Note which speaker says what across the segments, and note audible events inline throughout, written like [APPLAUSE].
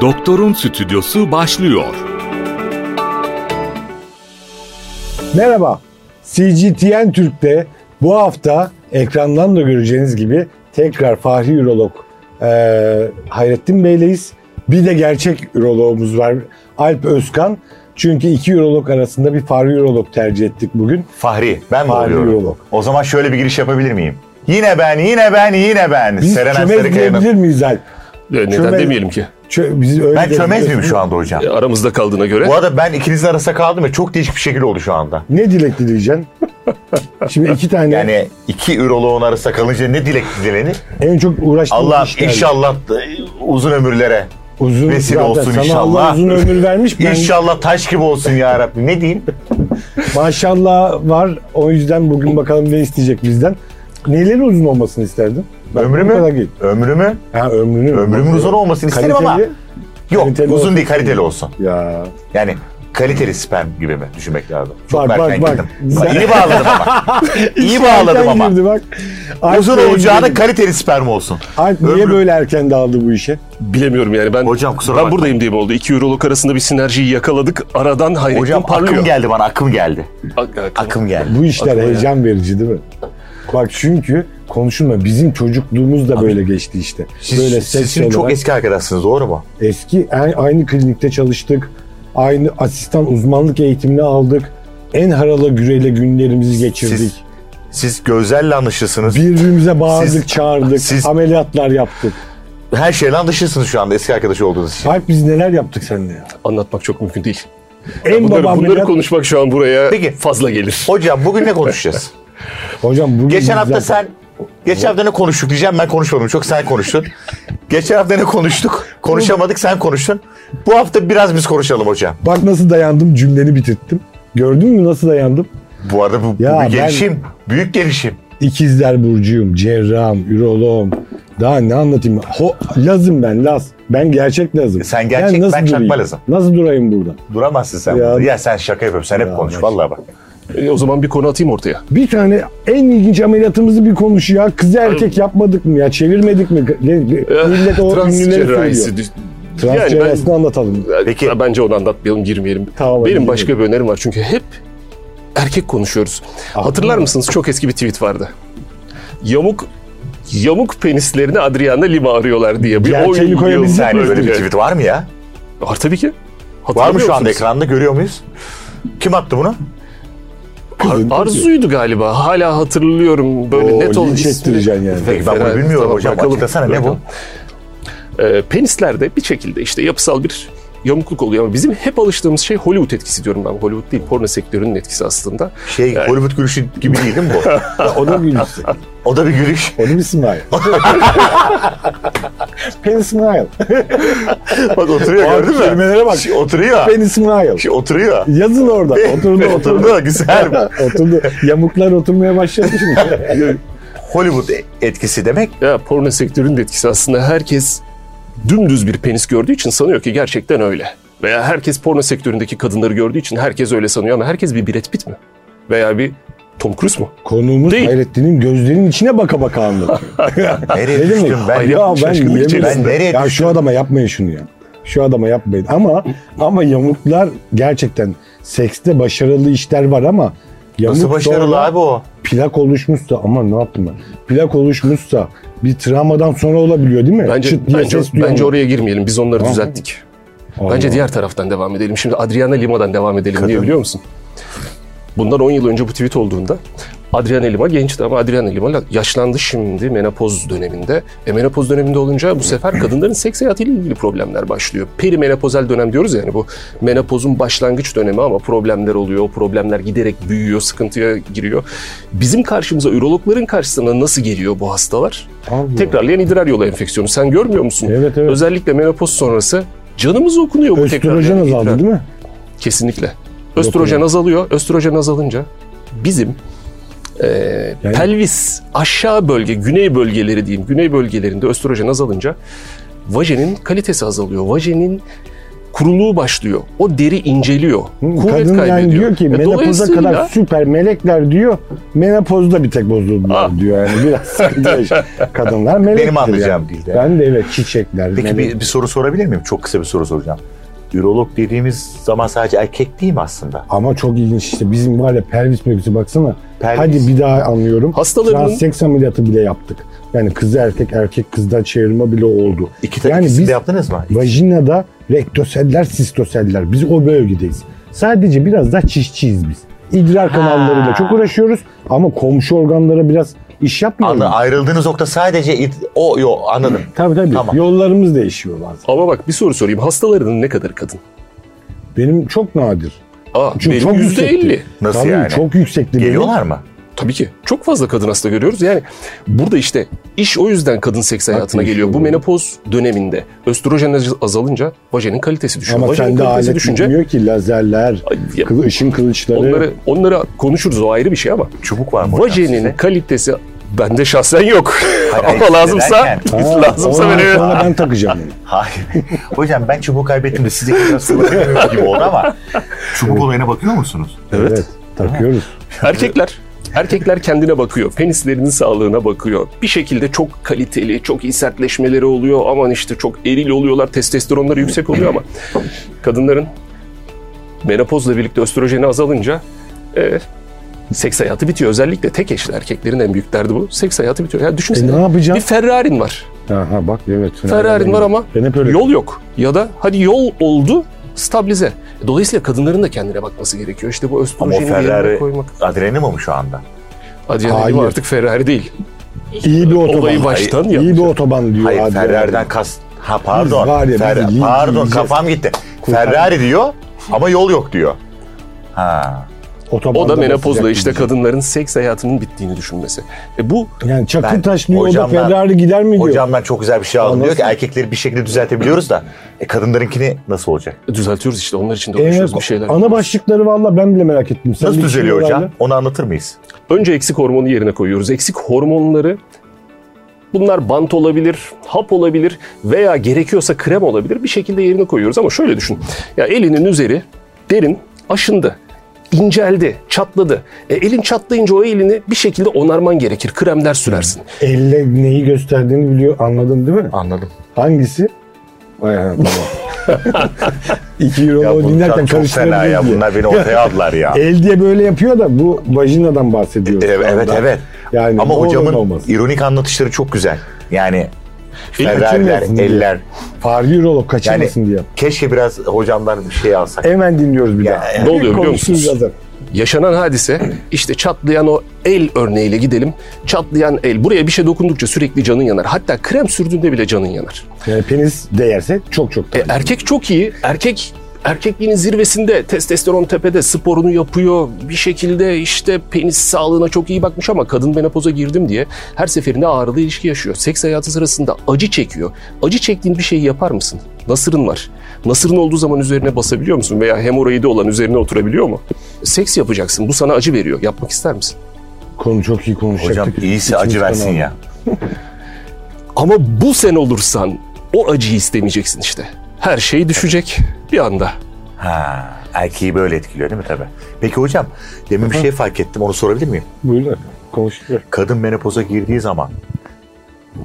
Speaker 1: Doktor'un stüdyosu başlıyor.
Speaker 2: E,
Speaker 3: Merhaba. CGTN Türk'te bu hafta ekrandan da göreceğiniz gibi tekrar Fahri Ürolog eee Hayrettin Bey'leyiz. Bir de gerçek üroloğumuz var Alp Özkan. Çünkü iki ürolog arasında bir Fahri Ürolog tercih ettik bugün.
Speaker 4: Fahri, ben mi
Speaker 3: Fahri
Speaker 4: oluyorum?
Speaker 3: Yolok.
Speaker 4: O zaman şöyle bir giriş yapabilir miyim? Yine ben, yine ben, yine ben.
Speaker 3: Biz
Speaker 4: Serenay
Speaker 3: çömez
Speaker 4: Sarıkaya'nın-
Speaker 3: diyebilir miyiz Alp?
Speaker 2: Ya neden
Speaker 3: Çömez-
Speaker 2: demeyelim ki?
Speaker 3: Çö- biz öyle
Speaker 4: Ben çömez
Speaker 3: diyebiliriz.
Speaker 4: miyim şu anda hocam?
Speaker 2: E, Aramızda kaldığına göre.
Speaker 4: Bu arada ben ikinizin arasında kaldım ve çok değişik bir şekilde oldu şu anda.
Speaker 3: Ne dilek
Speaker 4: [LAUGHS]
Speaker 3: dileyeceksin? Şimdi iki tane
Speaker 4: Yani iki üroloğun arasında kalınca ne dilek dilenir?
Speaker 3: en çok uğraştığımız
Speaker 4: Allah
Speaker 3: işler.
Speaker 4: inşallah e, uzun ömürlere.
Speaker 3: uzun
Speaker 4: vesile
Speaker 3: zaten
Speaker 4: olsun
Speaker 3: sana Allah
Speaker 4: inşallah.
Speaker 3: uzun ömür vermiş.
Speaker 4: [LAUGHS]
Speaker 3: Ben
Speaker 4: İnşallah taş gibi olsun ya Rabbi. Ne diyeyim?
Speaker 3: Maşallah var. O yüzden bugün bakalım ne isteyecek bizden. Neleri uzun olmasını isterdin? Bak,
Speaker 4: Ömrü
Speaker 3: bu
Speaker 4: mü?
Speaker 3: kadar git.
Speaker 4: Ömrü mü?
Speaker 3: Ha ömrünü.
Speaker 4: Ömrümün uzun olmasını isterim ama
Speaker 3: Kaliteli-
Speaker 4: yok
Speaker 3: kaliteli
Speaker 4: uzun
Speaker 3: olsun.
Speaker 4: değil kaliteli olsun.
Speaker 3: Ya.
Speaker 4: Yani kaliteli sperm gibi mi düşünmek lazım?
Speaker 3: Bak,
Speaker 4: Çok
Speaker 3: bak,
Speaker 4: erken
Speaker 3: bak.
Speaker 4: girdim.
Speaker 3: Sen-
Speaker 4: İyi bağladım ama.
Speaker 3: [LAUGHS]
Speaker 4: İyi bağladım
Speaker 3: Erken şey
Speaker 4: ama.
Speaker 3: girdi bak. Alp
Speaker 4: Uzun
Speaker 3: Bey
Speaker 4: olacağına
Speaker 3: girdi.
Speaker 4: kaliteli sperm olsun.
Speaker 3: Alp niye
Speaker 4: Ömrü-
Speaker 3: böyle erken daldı bu işe?
Speaker 2: Bilemiyorum yani ben
Speaker 4: Hocam kusura
Speaker 2: ben
Speaker 4: bakma.
Speaker 2: buradayım diye mi oldu? İki Euroluk arasında bir sinerjiyi yakaladık. Aradan hayretim
Speaker 4: Hocam
Speaker 2: parlıyor.
Speaker 4: akım geldi bana akım geldi.
Speaker 2: Ak- ak-
Speaker 4: Akım geldi.
Speaker 3: Bu işler
Speaker 2: Aklıma
Speaker 3: heyecan verici değil mi? Bak çünkü konuşulma bizim çocukluğumuz da böyle geçti işte.
Speaker 4: Siz,
Speaker 3: böyle
Speaker 4: siz
Speaker 3: seks
Speaker 4: şimdi çok
Speaker 3: olarak.
Speaker 4: eski arkadaşsınız doğru mu?
Speaker 3: Eski a- aynı klinikte çalıştık. Aynı asistan uzmanlık eğitimini aldık. En harala güreyle günlerimizi geçirdik.
Speaker 4: Siz, siz gözlerle anlaşırsınız.
Speaker 3: Birbirimize bağırdık,
Speaker 4: Siz-
Speaker 3: çağırdık,
Speaker 4: siz-
Speaker 3: ameliyatlar yaptık.
Speaker 4: Her şeyle anlaşırsınız şu anda eski arkadaş olduğunuz
Speaker 3: [LAUGHS]
Speaker 4: için.
Speaker 3: Alp biz neler yaptık seninle ya?
Speaker 2: Anlatmak çok mümkün değil.
Speaker 3: En
Speaker 2: Bunları, bunları
Speaker 3: baba ameliyat...
Speaker 2: konuşmak şu an buraya
Speaker 4: Peki.
Speaker 2: fazla gelir.
Speaker 4: Hocam bugün
Speaker 3: [LAUGHS]
Speaker 4: ne konuşacağız?
Speaker 3: Hocam bugün
Speaker 4: Geçen
Speaker 3: biz
Speaker 4: hafta
Speaker 3: zaten-
Speaker 4: sen Geçen hafta ne konuştuk diyeceğim ben konuşmadım çok
Speaker 3: [LAUGHS]
Speaker 4: sen konuştun. Geçen hafta ne konuştuk? Konuşamadık sen konuştun. Bu hafta biraz biz konuşalım hocam.
Speaker 3: Bak nasıl dayandım cümleni bitirttim. Gördün mü nasıl dayandım?
Speaker 4: Bu arada bu, bu
Speaker 3: Ya
Speaker 4: bir
Speaker 3: ben-
Speaker 4: gelişim. Büyük gelişim.
Speaker 3: İkizler Burcu'yum, cerrahım, üroloğum. Daha ne anlatayım? Ho, lazım ben, Laz. Ben gerçek lazım.
Speaker 4: E Sen gerçek, ben çakma Laz'ım.
Speaker 3: Nasıl durayım burada?
Speaker 4: Duramazsın sen.
Speaker 3: Ya-
Speaker 4: burada. Ya sen şaka yapıyorum. Sen
Speaker 3: Ya
Speaker 4: hep konuş.
Speaker 3: bak.
Speaker 4: Vallahi bak.
Speaker 2: E, o zaman bir konu atayım ortaya.
Speaker 3: Bir tane en ilginç ameliyatımızı bir konuş ya. Kız erkek yapmadık mı ya? Çevirmedik mi? Ne- ne- Millet o
Speaker 2: Trans
Speaker 3: ünlüleri
Speaker 2: cerrahisi
Speaker 3: söylüyor.
Speaker 2: düş-
Speaker 3: Trans
Speaker 2: Yani ben-
Speaker 3: cerrahisini anlatalım.
Speaker 4: Peki.
Speaker 2: Ya Bence onu anlatmayalım, girmeyelim.
Speaker 3: Tamam,
Speaker 2: Benim
Speaker 3: girmeyelim.
Speaker 2: başka bir önerim var çünkü hep erkek konuşuyoruz. Hatırlar mısınız? Çok eski bir tweet vardı. Yamuk yamuk penislerini Adriana Lima arıyorlar diye bir
Speaker 3: Gerçeğini
Speaker 2: oyun
Speaker 3: koyabilecek
Speaker 4: Bir
Speaker 2: yıldızı
Speaker 4: saniye böyle bir
Speaker 2: bölümü.
Speaker 4: tweet var mı ya?
Speaker 2: Var tabii ki.
Speaker 4: Var mı
Speaker 2: Hatırlamıyor
Speaker 4: şu anda
Speaker 2: musunuz?
Speaker 4: ekranda görüyor muyuz? Kim attı bunu?
Speaker 3: Kızın-
Speaker 2: Ar- Arzu'ydu galiba. Hala hatırlıyorum böyle
Speaker 3: Oo,
Speaker 2: net ol
Speaker 3: linç ettireceksin yani.
Speaker 4: Peki ben bunu
Speaker 2: Fena-
Speaker 4: bilmiyorum
Speaker 2: Tamam,
Speaker 4: hocam.
Speaker 2: bakalım.
Speaker 4: Açıklasana ne bu?
Speaker 2: Bakalım. Ee, penislerde bir şekilde işte yapısal bir yamukluk oluyor ama bizim hep alıştığımız şey Hollywood etkisi diyorum ben. Hollywood değil, porno sektörünün etkisi aslında.
Speaker 4: Şey Hollywood gülüşü gibi değil değil mi [LAUGHS] bu?
Speaker 3: O da gülüşsün.
Speaker 4: O da bir gülüş.
Speaker 3: O da bir smile. Penny smile.
Speaker 4: Bak oturuyor
Speaker 3: Abi,
Speaker 4: gördün mü?
Speaker 3: kelimelere bak.
Speaker 4: Şey, oturuyor.
Speaker 3: Penny smile.
Speaker 4: Şey, oturuyor.
Speaker 3: Yazın orada. Oturdu oturdu.
Speaker 4: Oturdu [LAUGHS] güzel.
Speaker 3: oturdu. Yamuklar oturmaya başladı şimdi.
Speaker 4: Hollywood etkisi demek
Speaker 2: Ya porno sektörünün de etkisi aslında herkes dümdüz bir penis gördüğü için sanıyor ki gerçekten öyle. Veya herkes porno sektöründeki kadınları gördüğü için herkes öyle sanıyor ama herkes bir Brad Pitt mi? Veya bir Tom Cruise mu?
Speaker 3: Konuğumuz
Speaker 2: Değil.
Speaker 3: Hayrettin'in gözlerinin içine baka baka
Speaker 4: [LAUGHS]
Speaker 3: anlatıyor.
Speaker 4: nereye
Speaker 3: Öyle mi?
Speaker 4: düştüm ben?
Speaker 2: Hayır,
Speaker 3: ya ben
Speaker 2: şaşkınlık
Speaker 3: yemin
Speaker 2: içerisinde.
Speaker 3: ederim.
Speaker 4: Ben nereye
Speaker 3: Ya
Speaker 4: düştüm?
Speaker 3: şu adama yapmayın şunu ya. Şu adama yapmayın. Ama ama yamuklar gerçekten sekste başarılı işler var ama yamuk
Speaker 4: Nasıl başarılı
Speaker 3: sonra-
Speaker 4: abi o?
Speaker 3: plak oluşmuşsa aman ne yaptım ben? Plak oluşmuşsa bir travmadan sonra olabiliyor değil mi?
Speaker 2: Bence
Speaker 3: Çıt diye
Speaker 2: bence,
Speaker 3: ses duyan-
Speaker 2: bence oraya girmeyelim. Biz onları
Speaker 3: Tamam.
Speaker 2: düzelttik.
Speaker 3: Allah.
Speaker 2: Bence diğer taraftan devam edelim. Şimdi Adriana Lima'dan devam edelim diye biliyor musun? Bundan 10 yıl önce bu tweet olduğunda Adriana Lima gençti ama Adriana Lima yaşlandı şimdi menopoz döneminde. E menopoz döneminde olunca bu sefer kadınların seks hayatıyla ilgili problemler başlıyor. Perimenopozel dönem diyoruz yani bu menopozun başlangıç dönemi ama problemler oluyor. O problemler giderek büyüyor, sıkıntıya giriyor. Bizim karşımıza, ürologların karşısına nasıl geliyor bu hastalar?
Speaker 3: Allah.
Speaker 2: Tekrarlayan idrar yolu enfeksiyonu. Sen görmüyor musun?
Speaker 3: Evet, evet.
Speaker 2: Özellikle menopoz sonrası canımız okunuyor bu
Speaker 3: Östrojen
Speaker 2: tekrarlayan idrar.
Speaker 3: azaldı değil mi?
Speaker 2: Kesinlikle. Östrojen azalıyor. Östrojen azalınca bizim eee,
Speaker 3: Yani-
Speaker 2: pelvis aşağı bölge, güney bölgeleri diyeyim. Güney bölgelerinde östrojen azalınca vajenin kalitesi azalıyor. Vajenin kuruluğu başlıyor. O deri inceliyor. kuvvet
Speaker 3: Kadın
Speaker 2: kaybediyor.
Speaker 3: yani diyor ki
Speaker 2: E,
Speaker 3: menopoza
Speaker 2: dolayısıyla-
Speaker 3: kadar süper melekler diyor. Menopozda bir tek bozuldular
Speaker 2: Ah.
Speaker 3: diyor yani. Biraz
Speaker 2: [LAUGHS]
Speaker 3: sıkıntı yaşıyor. Kadınlar melektir
Speaker 4: Benim anlayacağım
Speaker 3: yani.
Speaker 4: dilde.
Speaker 3: Ben de evet çiçekler.
Speaker 4: Peki
Speaker 3: melek.
Speaker 4: bir, bir soru sorabilir miyim? Çok kısa bir soru soracağım. Ürolog dediğimiz zaman sadece erkek değil mi aslında?
Speaker 3: Ama çok ilginç işte bizim var ya pelvis bölgesi baksana.
Speaker 4: Pelvis.
Speaker 3: Hadi bir daha anlıyorum.
Speaker 2: Hastalarının-
Speaker 3: Transseks ameliyatı bile yaptık. Yani kız erkek erkek kızdan çevirme bile oldu.
Speaker 4: İki tane
Speaker 3: yani
Speaker 4: ikisini
Speaker 3: biz
Speaker 4: de yaptınız mı?
Speaker 3: vajinada rektoseller sistoseller biz o bölgedeyiz. Sadece biraz daha çişçiyiz biz. İdrar kanallarıyla çok uğraşıyoruz ama komşu organlara biraz iş yapmıyoruz.
Speaker 4: Anladım. Ayrıldığınız nokta sadece it- o yo anladım.
Speaker 3: Tabii tabii.
Speaker 4: Tamam.
Speaker 3: Yollarımız değişiyor bazen.
Speaker 2: Ama bak bir soru sorayım. Hastalarının ne kadar kadın?
Speaker 3: Benim çok nadir.
Speaker 2: Aa,
Speaker 3: Çünkü
Speaker 2: benim
Speaker 3: çok
Speaker 2: yüzde
Speaker 3: yüksekti.
Speaker 2: elli.
Speaker 4: Nasıl
Speaker 3: Tabii,
Speaker 4: yani?
Speaker 3: Çok yüksekti. benim.
Speaker 4: Geliyorlar mı?
Speaker 2: Tabii ki. Çok fazla kadın hasta görüyoruz. Yani burada işte iş o yüzden kadın seks hayatına
Speaker 3: Haklı.
Speaker 2: geliyor. Bu menopoz döneminde östrojen az- azalınca vajinin kalitesi düşüyor.
Speaker 3: Ama
Speaker 2: vajinin
Speaker 3: sende
Speaker 2: kalitesi
Speaker 3: alet
Speaker 2: düşünce
Speaker 3: bitmiyor ki lazerler,
Speaker 2: Ay, ya-
Speaker 3: kılı, ışın kılıçları.
Speaker 2: onları onlara konuşuruz o ayrı bir şey ama
Speaker 4: Çubuk var mı hocam?
Speaker 2: vajinin kalitesi bende şahsen yok.
Speaker 4: Hayır, hayır,
Speaker 2: ama lazımsa
Speaker 4: derken-
Speaker 3: Ha,
Speaker 2: lazımsa
Speaker 3: ondan
Speaker 2: böyle
Speaker 3: sonra ben takacağım. onu.
Speaker 4: Hayır. [LAUGHS] Hocam ben çubuğu kaybettim de size biraz sorabilirim gibi oldu ama çubuk olayına bakıyor musunuz?
Speaker 3: evet. Takıyoruz.
Speaker 2: Erkekler erkekler kendine bakıyor. Penislerinin sağlığına bakıyor. Bir şekilde çok kaliteli, çok iyi sertleşmeleri oluyor. Aman işte çok eril oluyorlar. Testosteronları yüksek oluyor ama kadınların menopozla birlikte östrojeni azalınca e, seks hayatı bitiyor. Özellikle tek eşli erkeklerin en büyük derdi bu. Seks hayatı bitiyor. Ya düşünsene.
Speaker 3: E, ne yapacağım?
Speaker 2: Bir Ferrari'nin var.
Speaker 3: Aha bak evet.
Speaker 2: Ferrari'nin var ama
Speaker 3: Ben hep öyle.
Speaker 2: yol yok. Ya da hadi yol oldu stabilize. Dolayısıyla kadınların da kendine bakması gerekiyor. İşte bu
Speaker 4: Ama o
Speaker 2: östrojeni bir yerine
Speaker 4: Ferrari
Speaker 2: koymak.
Speaker 4: adrenalin mi şu anda?
Speaker 2: Adrian
Speaker 3: Hayır.
Speaker 2: Newey artık Ferrari değil.
Speaker 3: İyi bir otoban.
Speaker 2: Olayı baştan
Speaker 3: İyi
Speaker 2: yapmış.
Speaker 3: bir otoban diyor
Speaker 4: Hayır
Speaker 3: abi.
Speaker 4: Ferrari'den kast... Ha pardon.
Speaker 3: Biz var ya, biz
Speaker 4: Ferra-
Speaker 3: yiyeceğiz,
Speaker 4: pardon
Speaker 3: yiyeceğiz.
Speaker 4: kafam gitti.
Speaker 3: Kurtar-
Speaker 4: Ferrari diyor ama yol yok diyor. Ha.
Speaker 3: Otobanda
Speaker 2: O da menopozla
Speaker 3: basacak
Speaker 2: işte
Speaker 3: gidecek.
Speaker 2: kadınların seks hayatının bittiğini düşünmesi. E bu
Speaker 3: Yani
Speaker 4: Ben-
Speaker 3: Çakırtaş New York'a
Speaker 4: hocam ben-
Speaker 3: Ferrari gider mi diyor.
Speaker 4: Hocam ben çok güzel bir şey aldım.
Speaker 3: Anlasın.
Speaker 4: Diyor ki erkekleri bir şekilde düzeltebiliyoruz da e, kadınlarınkini nasıl olacak?
Speaker 2: düzeltiyoruz işte onlar için de
Speaker 3: Evet,
Speaker 2: uğraşıyoruz bir şeyler.
Speaker 3: Ee, ana başlıkları valla ben bile merak ettim. Sen
Speaker 4: Nasıl
Speaker 3: bir şey
Speaker 4: düzeliyor
Speaker 3: şeyler
Speaker 4: hocam?
Speaker 3: öğrendin.
Speaker 4: Onu anlatır mıyız?
Speaker 2: Önce eksik hormonu yerine koyuyoruz. Eksik hormonları bunlar bant olabilir, hap olabilir veya gerekiyorsa krem olabilir. Bir şekilde yerine koyuyoruz ama şöyle düşün. Ya elinin üzeri derin aşındı inceldi, çatladı. E, elin çatlayınca o elini bir şekilde onarman gerekir. Kremler sürersin.
Speaker 3: Elle neyi gösterdiğini biliyor anladın değil mi?
Speaker 4: Anladım.
Speaker 3: Hangisi? Vay ha, tamam. [LAUGHS] İki
Speaker 4: Ya
Speaker 3: euro
Speaker 4: bunlar
Speaker 3: dinlerken
Speaker 4: çok fena
Speaker 3: karıştırabilir
Speaker 4: ya.
Speaker 3: diye. E,
Speaker 4: Bunlar
Speaker 3: [LAUGHS]
Speaker 4: beni ortaya aldılar ya.
Speaker 3: El diye böyle yapıyor da bu vajinadan bahsediyoruz.
Speaker 4: E, Evet
Speaker 3: şu
Speaker 4: evet.
Speaker 3: anda.
Speaker 4: evet.
Speaker 3: Yani
Speaker 4: Ama
Speaker 3: ne olur
Speaker 4: hocamın
Speaker 3: ne olmaz.
Speaker 4: ironik anlatışları çok güzel. Yani Ferrari'ler,
Speaker 3: kaçırmayasın diye.
Speaker 4: eller.
Speaker 3: Fahri Eurolog kaçırmasın diye.
Speaker 4: Keşke biraz hocamdan bir şey alsak.
Speaker 3: Hemen dinliyoruz bir
Speaker 4: Ya,
Speaker 3: daha.
Speaker 4: evet.
Speaker 2: Ne oluyor biliyor
Speaker 3: Konuşuruz
Speaker 2: musunuz?
Speaker 3: zaten.
Speaker 2: Yaşanan hadise işte çatlayan o el örneğiyle gidelim. Çatlayan el. Buraya bir şey dokundukça sürekli canın yanar. Hatta krem sürdüğünde bile canın yanar.
Speaker 3: Yani penis değerse çok çok
Speaker 2: E,
Speaker 3: daha.
Speaker 2: erkek çok iyi. Erkek erkekliğinin zirvesinde testosteron tepede sporunu yapıyor. Bir şekilde işte penis sağlığına çok iyi bakmış ama kadın menopoza girdim diye her seferinde ağrılı ilişki yaşıyor. Seks hayatı sırasında acı çekiyor. Acı çektiğin bir şeyi yapar mısın? Nasırın var. Nasırın olduğu zaman üzerine basabiliyor musun? Veya hemoroidi olan üzerine oturabiliyor mu? Seks yapacaksın. Bu sana acı veriyor. Yapmak ister misin?
Speaker 3: Konu çok iyi konuşacaktık.
Speaker 4: Hocam iyisi
Speaker 3: İçimiz
Speaker 4: acı versin
Speaker 3: fena
Speaker 4: ya.
Speaker 2: Ama bu sen olursan o acıyı istemeyeceksin işte. Her şey düşecek bir anda.
Speaker 4: Ha, erkeği böyle etkiliyor değil mi tabii? Peki hocam demin bir şey fark ettim onu sorabilir miyim?
Speaker 3: Buyurun efendim, konuşuyor.
Speaker 4: Kadın menopoza girdiği zaman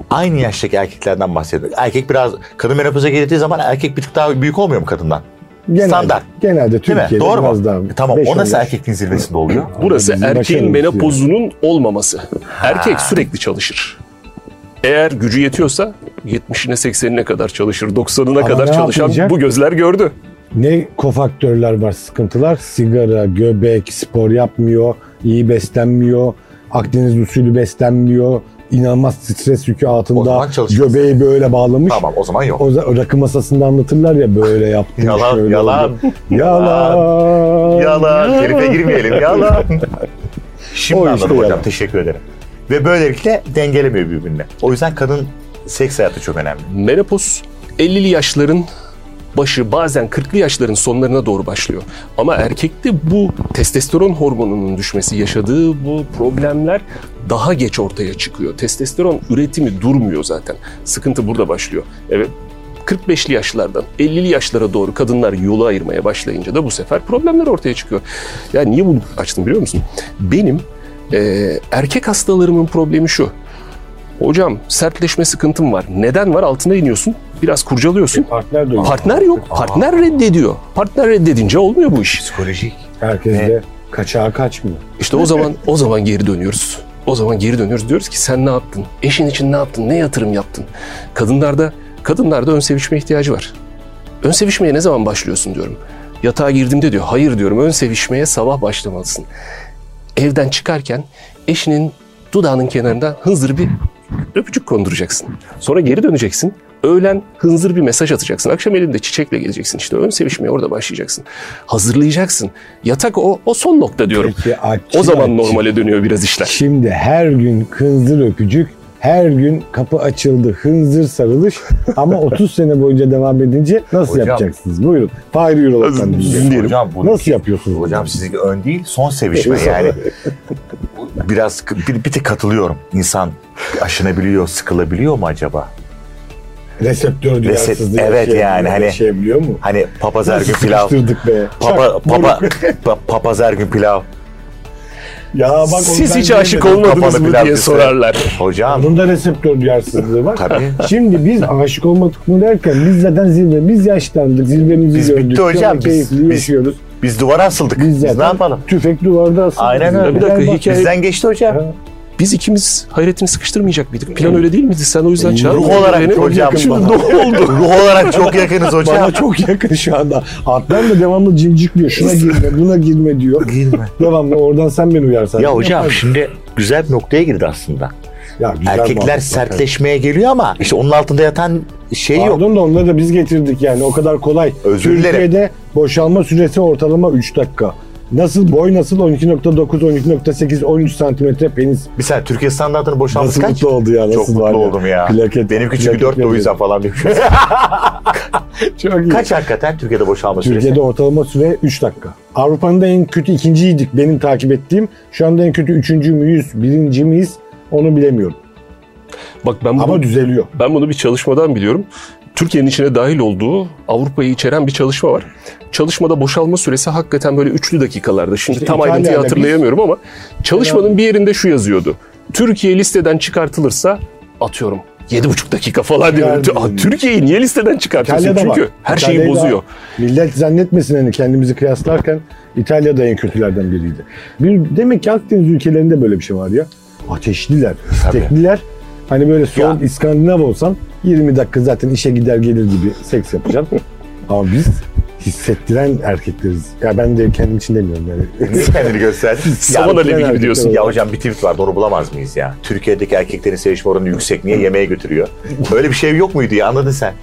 Speaker 4: aynı yaştaki erkeklerden bahsediyoruz. Erkek biraz kadın menopoza girdiği zaman erkek bir tık daha büyük olmuyor mu kadından?
Speaker 3: Genelde,
Speaker 4: Standart.
Speaker 3: Genelde
Speaker 4: Değil mi?
Speaker 3: Türkiye'de
Speaker 4: Doğru
Speaker 3: biraz
Speaker 4: mu?
Speaker 3: daha.
Speaker 4: E, tamam
Speaker 3: beş,
Speaker 4: o
Speaker 3: on
Speaker 4: nasıl
Speaker 3: yaş.
Speaker 4: erkekliğin zirvesinde oluyor?
Speaker 2: Burası
Speaker 3: bizim
Speaker 2: erkeğin
Speaker 3: başarımız
Speaker 2: menopozunun olmaması. Erkek sürekli çalışır. Eğer gücü yetiyorsa 70'ine 80'ine kadar çalışır. 90'ına
Speaker 3: Ama
Speaker 2: kadar
Speaker 3: ne
Speaker 2: çalışan
Speaker 3: yapmayacak?
Speaker 2: bu gözler gördü.
Speaker 3: Ne kofaktörler var sıkıntılar? Sigara, göbek, spor yapmıyor, iyi beslenmiyor, Akdeniz usulü beslenmiyor, inanılmaz stres yükü
Speaker 4: O
Speaker 3: altında
Speaker 4: zaman çalışmaz.
Speaker 3: göbeği böyle bağlamış.
Speaker 4: Tamam o zaman yok.
Speaker 3: O za- rakı masasında anlatırlar ya
Speaker 4: [LAUGHS]
Speaker 3: böyle yaptım.
Speaker 4: Yalan,
Speaker 3: şöyle
Speaker 4: yalan,
Speaker 3: oldu. Yalan.
Speaker 4: Yalan. Herife
Speaker 3: [LAUGHS]
Speaker 4: girmeyelim. Yalan. Şimdi
Speaker 3: O
Speaker 4: anladım
Speaker 3: işte
Speaker 4: hocam.
Speaker 3: yalan.
Speaker 4: Teşekkür ederim. Ve böylelikle dengelemiyor birbirine. O yüzden kadın seks hayatı çok önemli.
Speaker 2: Menopoz 50'li yaşların başı bazen 40'lı yaşların sonlarına doğru başlıyor. Ama erkekte bu testosteron hormonunun düşmesi yaşadığı bu problemler daha geç ortaya çıkıyor. Testosteron üretimi durmuyor zaten. Sıkıntı burada başlıyor. Evet 45'li yaşlardan 50'li yaşlara doğru kadınlar yolu ayırmaya başlayınca da bu sefer problemler ortaya çıkıyor. Yani niye bunu açtım biliyor musun? Benim eee, erkek hastalarımın problemi şu. Hocam sertleşme sıkıntım var. Neden var? Altına iniyorsun. Biraz kurcalıyorsun.
Speaker 3: E, Partner duyuyor.
Speaker 2: Partner yok. Partner reddediyor. Partner reddedince olmuyor bu iş.
Speaker 4: Psikolojik.
Speaker 3: Herkes de kaçağa kaçmıyor.
Speaker 2: İşte o zaman o zaman geri dönüyoruz. O zaman geri dönüyoruz diyoruz ki sen ne yaptın? Eşin için ne yaptın? Ne yatırım yaptın? Kadınlarda kadınlarda ön sevişme ihtiyacı var. Ön sevişmeye ne zaman başlıyorsun diyorum. Yatağa girdiğimde diyor. Hayır diyorum. Ön sevişmeye sabah başlamalısın. Evden çıkarken eşinin dudağının kenarından hızır bir öpücük konduracaksın. Sonra geri döneceksin. Öğlen hınzır bir mesaj atacaksın. Akşam elinde çiçekle geleceksin. İşte ön sevişmeye orada başlayacaksın. Hazırlayacaksın. Yatak o, o son nokta diyorum.
Speaker 3: Peki, açı-
Speaker 2: O zaman
Speaker 3: açı-
Speaker 2: normale dönüyor biraz işler.
Speaker 3: Şimdi her gün hınzır öpücük, her gün kapı açıldı, hınzır sarılış
Speaker 4: [LAUGHS]
Speaker 3: ama 30 sene boyunca devam edince nasıl
Speaker 4: Hocam.
Speaker 3: yapacaksınız? Buyurun. Fahri Eurolog'dan dinleyelim.
Speaker 4: Hocam bunu
Speaker 3: Nasıl yapıyorsunuz?
Speaker 4: Hocam sizinki ön değil, son sevişme yani. Biraz bir, bir tek katılıyorum. İnsan aşınabiliyor, sıkılabiliyor mu acaba?
Speaker 3: Reseptör duyarsızlığı
Speaker 4: evet
Speaker 3: yaşayabiliyor-
Speaker 4: yani hani-
Speaker 3: yaşayabiliyor şey mu?
Speaker 4: Hani papaz her gün
Speaker 3: Nasıl
Speaker 4: pilav.
Speaker 3: sıkıştırdık be?
Speaker 4: Papa,
Speaker 3: Bak,
Speaker 4: papa, pa- papaz her gün pilav.
Speaker 3: Ya bak onu
Speaker 2: Siz
Speaker 3: ben
Speaker 2: hiç aşık
Speaker 3: bilemedim.
Speaker 2: olmadınız
Speaker 4: Kapalı
Speaker 2: mı
Speaker 4: pilav
Speaker 2: diye
Speaker 4: köfte.
Speaker 2: sorarlar.
Speaker 4: Hocam
Speaker 3: Bunun da reseptör duyarsızlığı var.
Speaker 4: Tabii.
Speaker 3: Şimdi biz aşık olmadık mı derken biz zaten zirve, biz yaşlandık, zirvemizi
Speaker 4: Biz
Speaker 3: gördük.
Speaker 4: bitti
Speaker 3: Şu anda
Speaker 4: hocam, biz-
Speaker 3: keyifli
Speaker 4: biz-
Speaker 3: yaşıyoruz.
Speaker 4: biz duvara asıldık.
Speaker 3: Biz
Speaker 4: Biz,
Speaker 3: zaten
Speaker 4: ne yapalım?
Speaker 3: tüfek duvarda asıldık.
Speaker 4: Aynen öyle.
Speaker 2: Bir dakika,
Speaker 3: Galiba-
Speaker 2: hikaye-
Speaker 4: Bizden geçti hocam.
Speaker 3: Ha.
Speaker 2: Biz ikimiz hayretini sıkıştırmayacak mıydık? Plan öyle değil miydi? Sen o yüzden çağırdın.
Speaker 4: Ruh olarak
Speaker 2: Beni-
Speaker 3: [LAUGHS]
Speaker 4: hocam.
Speaker 2: Şimdi
Speaker 4: bana-
Speaker 2: doğru oldu.
Speaker 4: Ruh olarak çok yakınız hocam.
Speaker 3: Bana çok yakın şu anda. Adnan da devamlı cimcikliyor. Şuna girme, buna girme diyor.
Speaker 4: Girme.
Speaker 3: Devamlı oradan sen beni uyarsan.
Speaker 4: Ya hocam şimdi güzel bir noktaya girdi aslında.
Speaker 3: Ya güzel
Speaker 4: Erkekler
Speaker 3: muhabbet.
Speaker 4: sertleşmeye geliyor ama işte onun altında yatan şey yok.
Speaker 3: Pardon da onları da biz getirdik yani o kadar kolay.
Speaker 4: Özür dilerim.
Speaker 3: Türkiye'de boşalma süresi ortalama 3 dakika. Nasıl boy nasıl 12.9, 12.8, 13 santimetre penis.
Speaker 4: Bir saniye Türkiye standartını boşaltı
Speaker 3: Nasıl
Speaker 4: kaç?
Speaker 3: mutlu oldu ya. Nasıl
Speaker 4: Çok mutlu
Speaker 3: var
Speaker 4: oldum ya.
Speaker 3: Plaket,
Speaker 4: Benimki çünkü
Speaker 3: plaket
Speaker 4: 4 de o
Speaker 3: yapıyor.
Speaker 4: yüzden falan demiş.
Speaker 3: [LAUGHS] Çok iyi.
Speaker 4: [LAUGHS] kaç hakikaten Türkiye'de boşalma süresi?
Speaker 3: [LAUGHS] Türkiye'de ortalama süre 3 dakika. Avrupa'nın da en kötü ikinciydik benim takip ettiğim. Şu anda en kötü üçüncü müyüz, birinci miyiz onu bilemiyorum.
Speaker 2: Bak ben bunu,
Speaker 3: Ama düzeliyor.
Speaker 2: ben bunu bir çalışmadan biliyorum. Türkiye'nin içine dahil olduğu Avrupa'yı içeren bir çalışma var. Çalışmada boşalma süresi hakikaten böyle üçlü dakikalarda. Şimdi
Speaker 3: İşte
Speaker 2: tam
Speaker 3: İtalya'da
Speaker 2: ayrıntıyı
Speaker 3: biz-
Speaker 2: hatırlayamıyorum ama çalışmanın bir yerinde şu yazıyordu. Türkiye listeden çıkartılırsa atıyorum 7,5 dakika falan diyorum.
Speaker 3: Yani-
Speaker 2: Aa, Türkiye'yi niye listeden çıkartıyorsun?
Speaker 3: İtalya'da
Speaker 2: Çünkü
Speaker 3: var.
Speaker 2: her şeyi
Speaker 3: İtalya'da
Speaker 2: bozuyor.
Speaker 3: Millet zannetmesin hani kendimizi kıyaslarken İtalya'da en kötülerden biriydi. Bir, demek ki Akdeniz ülkelerinde böyle bir şey var ya. Ateşliler, istekliler. Hani böyle soğuk
Speaker 4: Ya.
Speaker 3: İskandinav olsan 20 dakika zaten işe gider gelir gibi
Speaker 2: [LAUGHS]
Speaker 3: seks yapacaksın. Ama biz hissettiren erkekleriz. Ya ben de kendim için demiyorum
Speaker 2: [LAUGHS]
Speaker 3: yani.
Speaker 4: Niye kendini gösterdi? ya,
Speaker 2: Saman alevi
Speaker 3: genelde
Speaker 2: gibi diyorsun.
Speaker 3: tabii.
Speaker 4: ya hocam bir tweet vardı onu bulamaz mıyız ya? Türkiye'deki erkeklerin sevişme oranı yüksek niye yemeğe götürüyor? Böyle bir şey yok muydu ya anladın sen?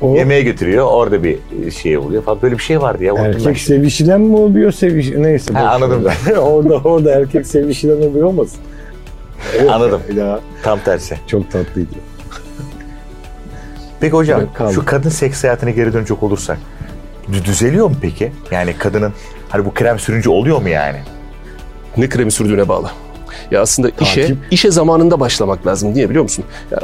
Speaker 3: O
Speaker 4: Yemeğe götürüyor orada bir şey oluyor falan böyle bir şey vardı ya. unuttum ben
Speaker 3: erkek
Speaker 4: şimdi.
Speaker 3: sevişilen mi oluyor seviş neyse.
Speaker 4: Ha,
Speaker 3: boş ver.
Speaker 4: anladım
Speaker 3: [LAUGHS]
Speaker 4: [LAUGHS]
Speaker 3: orada orada erkek sevişilen oluyor olmasın.
Speaker 4: Anladım.
Speaker 3: Ya
Speaker 4: Tam tersi.
Speaker 3: çok tatlıydı.
Speaker 4: Peki hocam
Speaker 3: Evet, kaldı.
Speaker 4: şu kadın seks hayatına geri dönecek olursak dü- düzeliyor mu peki? Yani kadının hani bu krem sürünce oluyor mu yani?
Speaker 2: ne kremi sürdüğüne bağlı. Ya aslında işe
Speaker 3: Takip.
Speaker 2: işe zamanında başlamak lazım diye biliyor musun? Ya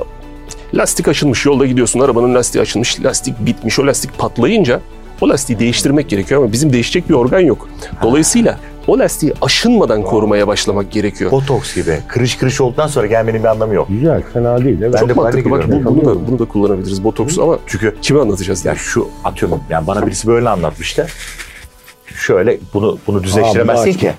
Speaker 2: lastik açılmış yolda gidiyorsun arabanın lastiği açılmış lastik bitmiş o lastik patlayınca o lastiği değiştirmek gerekiyor ama bizim değişecek bir organ yok. Dolayısıyla o lastiği aşınmadan korumaya başlamak gerekiyor.
Speaker 4: Botoks gibi kırış kırış olduktan sonra gelmenin bir anlamı yok.
Speaker 3: Güzel, fena değil. Evet.
Speaker 4: Ben de-
Speaker 2: Çok mantıklı. Bak
Speaker 4: giriyorum.
Speaker 2: bu- bunu da bunu da kullanabiliriz botoksu ama
Speaker 4: Çünkü
Speaker 2: kime anlatacağız
Speaker 4: ya
Speaker 2: yani?
Speaker 4: şu atıyorum yani bana birisi böyle anlatmıştı. Şöyle bunu bunu düzleştiremezsin
Speaker 3: Aa, bu
Speaker 4: ki.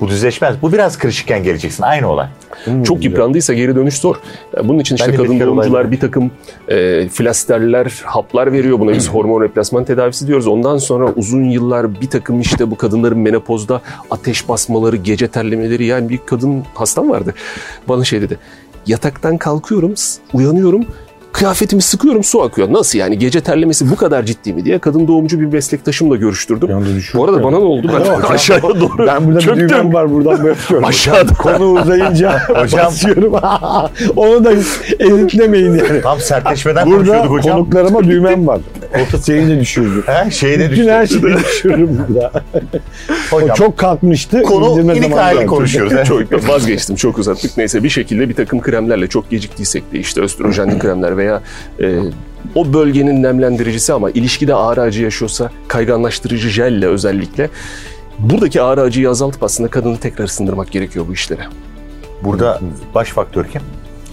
Speaker 4: Bu düzleşmez. Bu biraz kırışıkken geleceksin. Aynı olay.
Speaker 3: Hmm.
Speaker 2: Çok yıprandıysa geri dönüş zor. Ya Bunun için işte
Speaker 4: Ben de
Speaker 2: kadın
Speaker 4: bir kere
Speaker 2: doğumcular
Speaker 4: olaydım.
Speaker 2: bir takım e, flasterler, haplar veriyor. Buna
Speaker 3: [CLEARS THROAT]
Speaker 2: biz hormon replasman tedavisi diyoruz. Ondan sonra uzun yıllar bir takım işte bu kadınların menopozda ateş basmaları, gece terlemeleri. Yani bir kadın hastam vardı. Bana şey dedi. Yataktan kalkıyorum, s- uyanıyorum. Kıyafetimi sıkıyorum su akıyor. Nasıl yani gece terlemesi bu kadar ciddi mi diye kadın doğumcu bir meslektaşımla görüştürdüm.
Speaker 3: Yalnız düşüyor.
Speaker 2: Bu arada bana ne oldu?
Speaker 3: Hocam,
Speaker 2: Ben [LAUGHS] aşağıya doğru
Speaker 3: Ben burada bir
Speaker 2: çöktüm.
Speaker 3: düğmem var buradan böyle
Speaker 4: [LAUGHS]
Speaker 3: yapıyorum.
Speaker 2: Aşağıda.
Speaker 3: Konu uzayınca basıyorum. [LAUGHS] Onu da editlemeyin yani.
Speaker 4: Tam sertleşmeden
Speaker 3: Burada
Speaker 4: konuşuyorduk hocam.
Speaker 3: konuklarıma düğmem var. Seni de düşürdüm.
Speaker 4: He, şeyine
Speaker 3: Bütün her
Speaker 4: düştü.
Speaker 3: şeyi düşürürüm burada. O
Speaker 4: Hocam,
Speaker 3: çok kalkmıştı.
Speaker 4: konu
Speaker 3: indirme
Speaker 4: inik
Speaker 3: zamanı
Speaker 4: ayrı
Speaker 2: [LAUGHS]
Speaker 3: geldi.
Speaker 4: konuşuyoruz. Çok
Speaker 2: Yok, vazgeçtim çok uzattık. Neyse bir şekilde bir takım kremlerle çok geciktiysek de işte östrojenli kremler veya e, o bölgenin nemlendiricisi ama ilişkide ağır acı yaşıyorsa kayganlaştırıcı jelle özellikle buradaki ağır acıyı azaltıp aslında kadını tekrar sındırmak gerekiyor bu işlere.
Speaker 4: Burada baş faktör kim?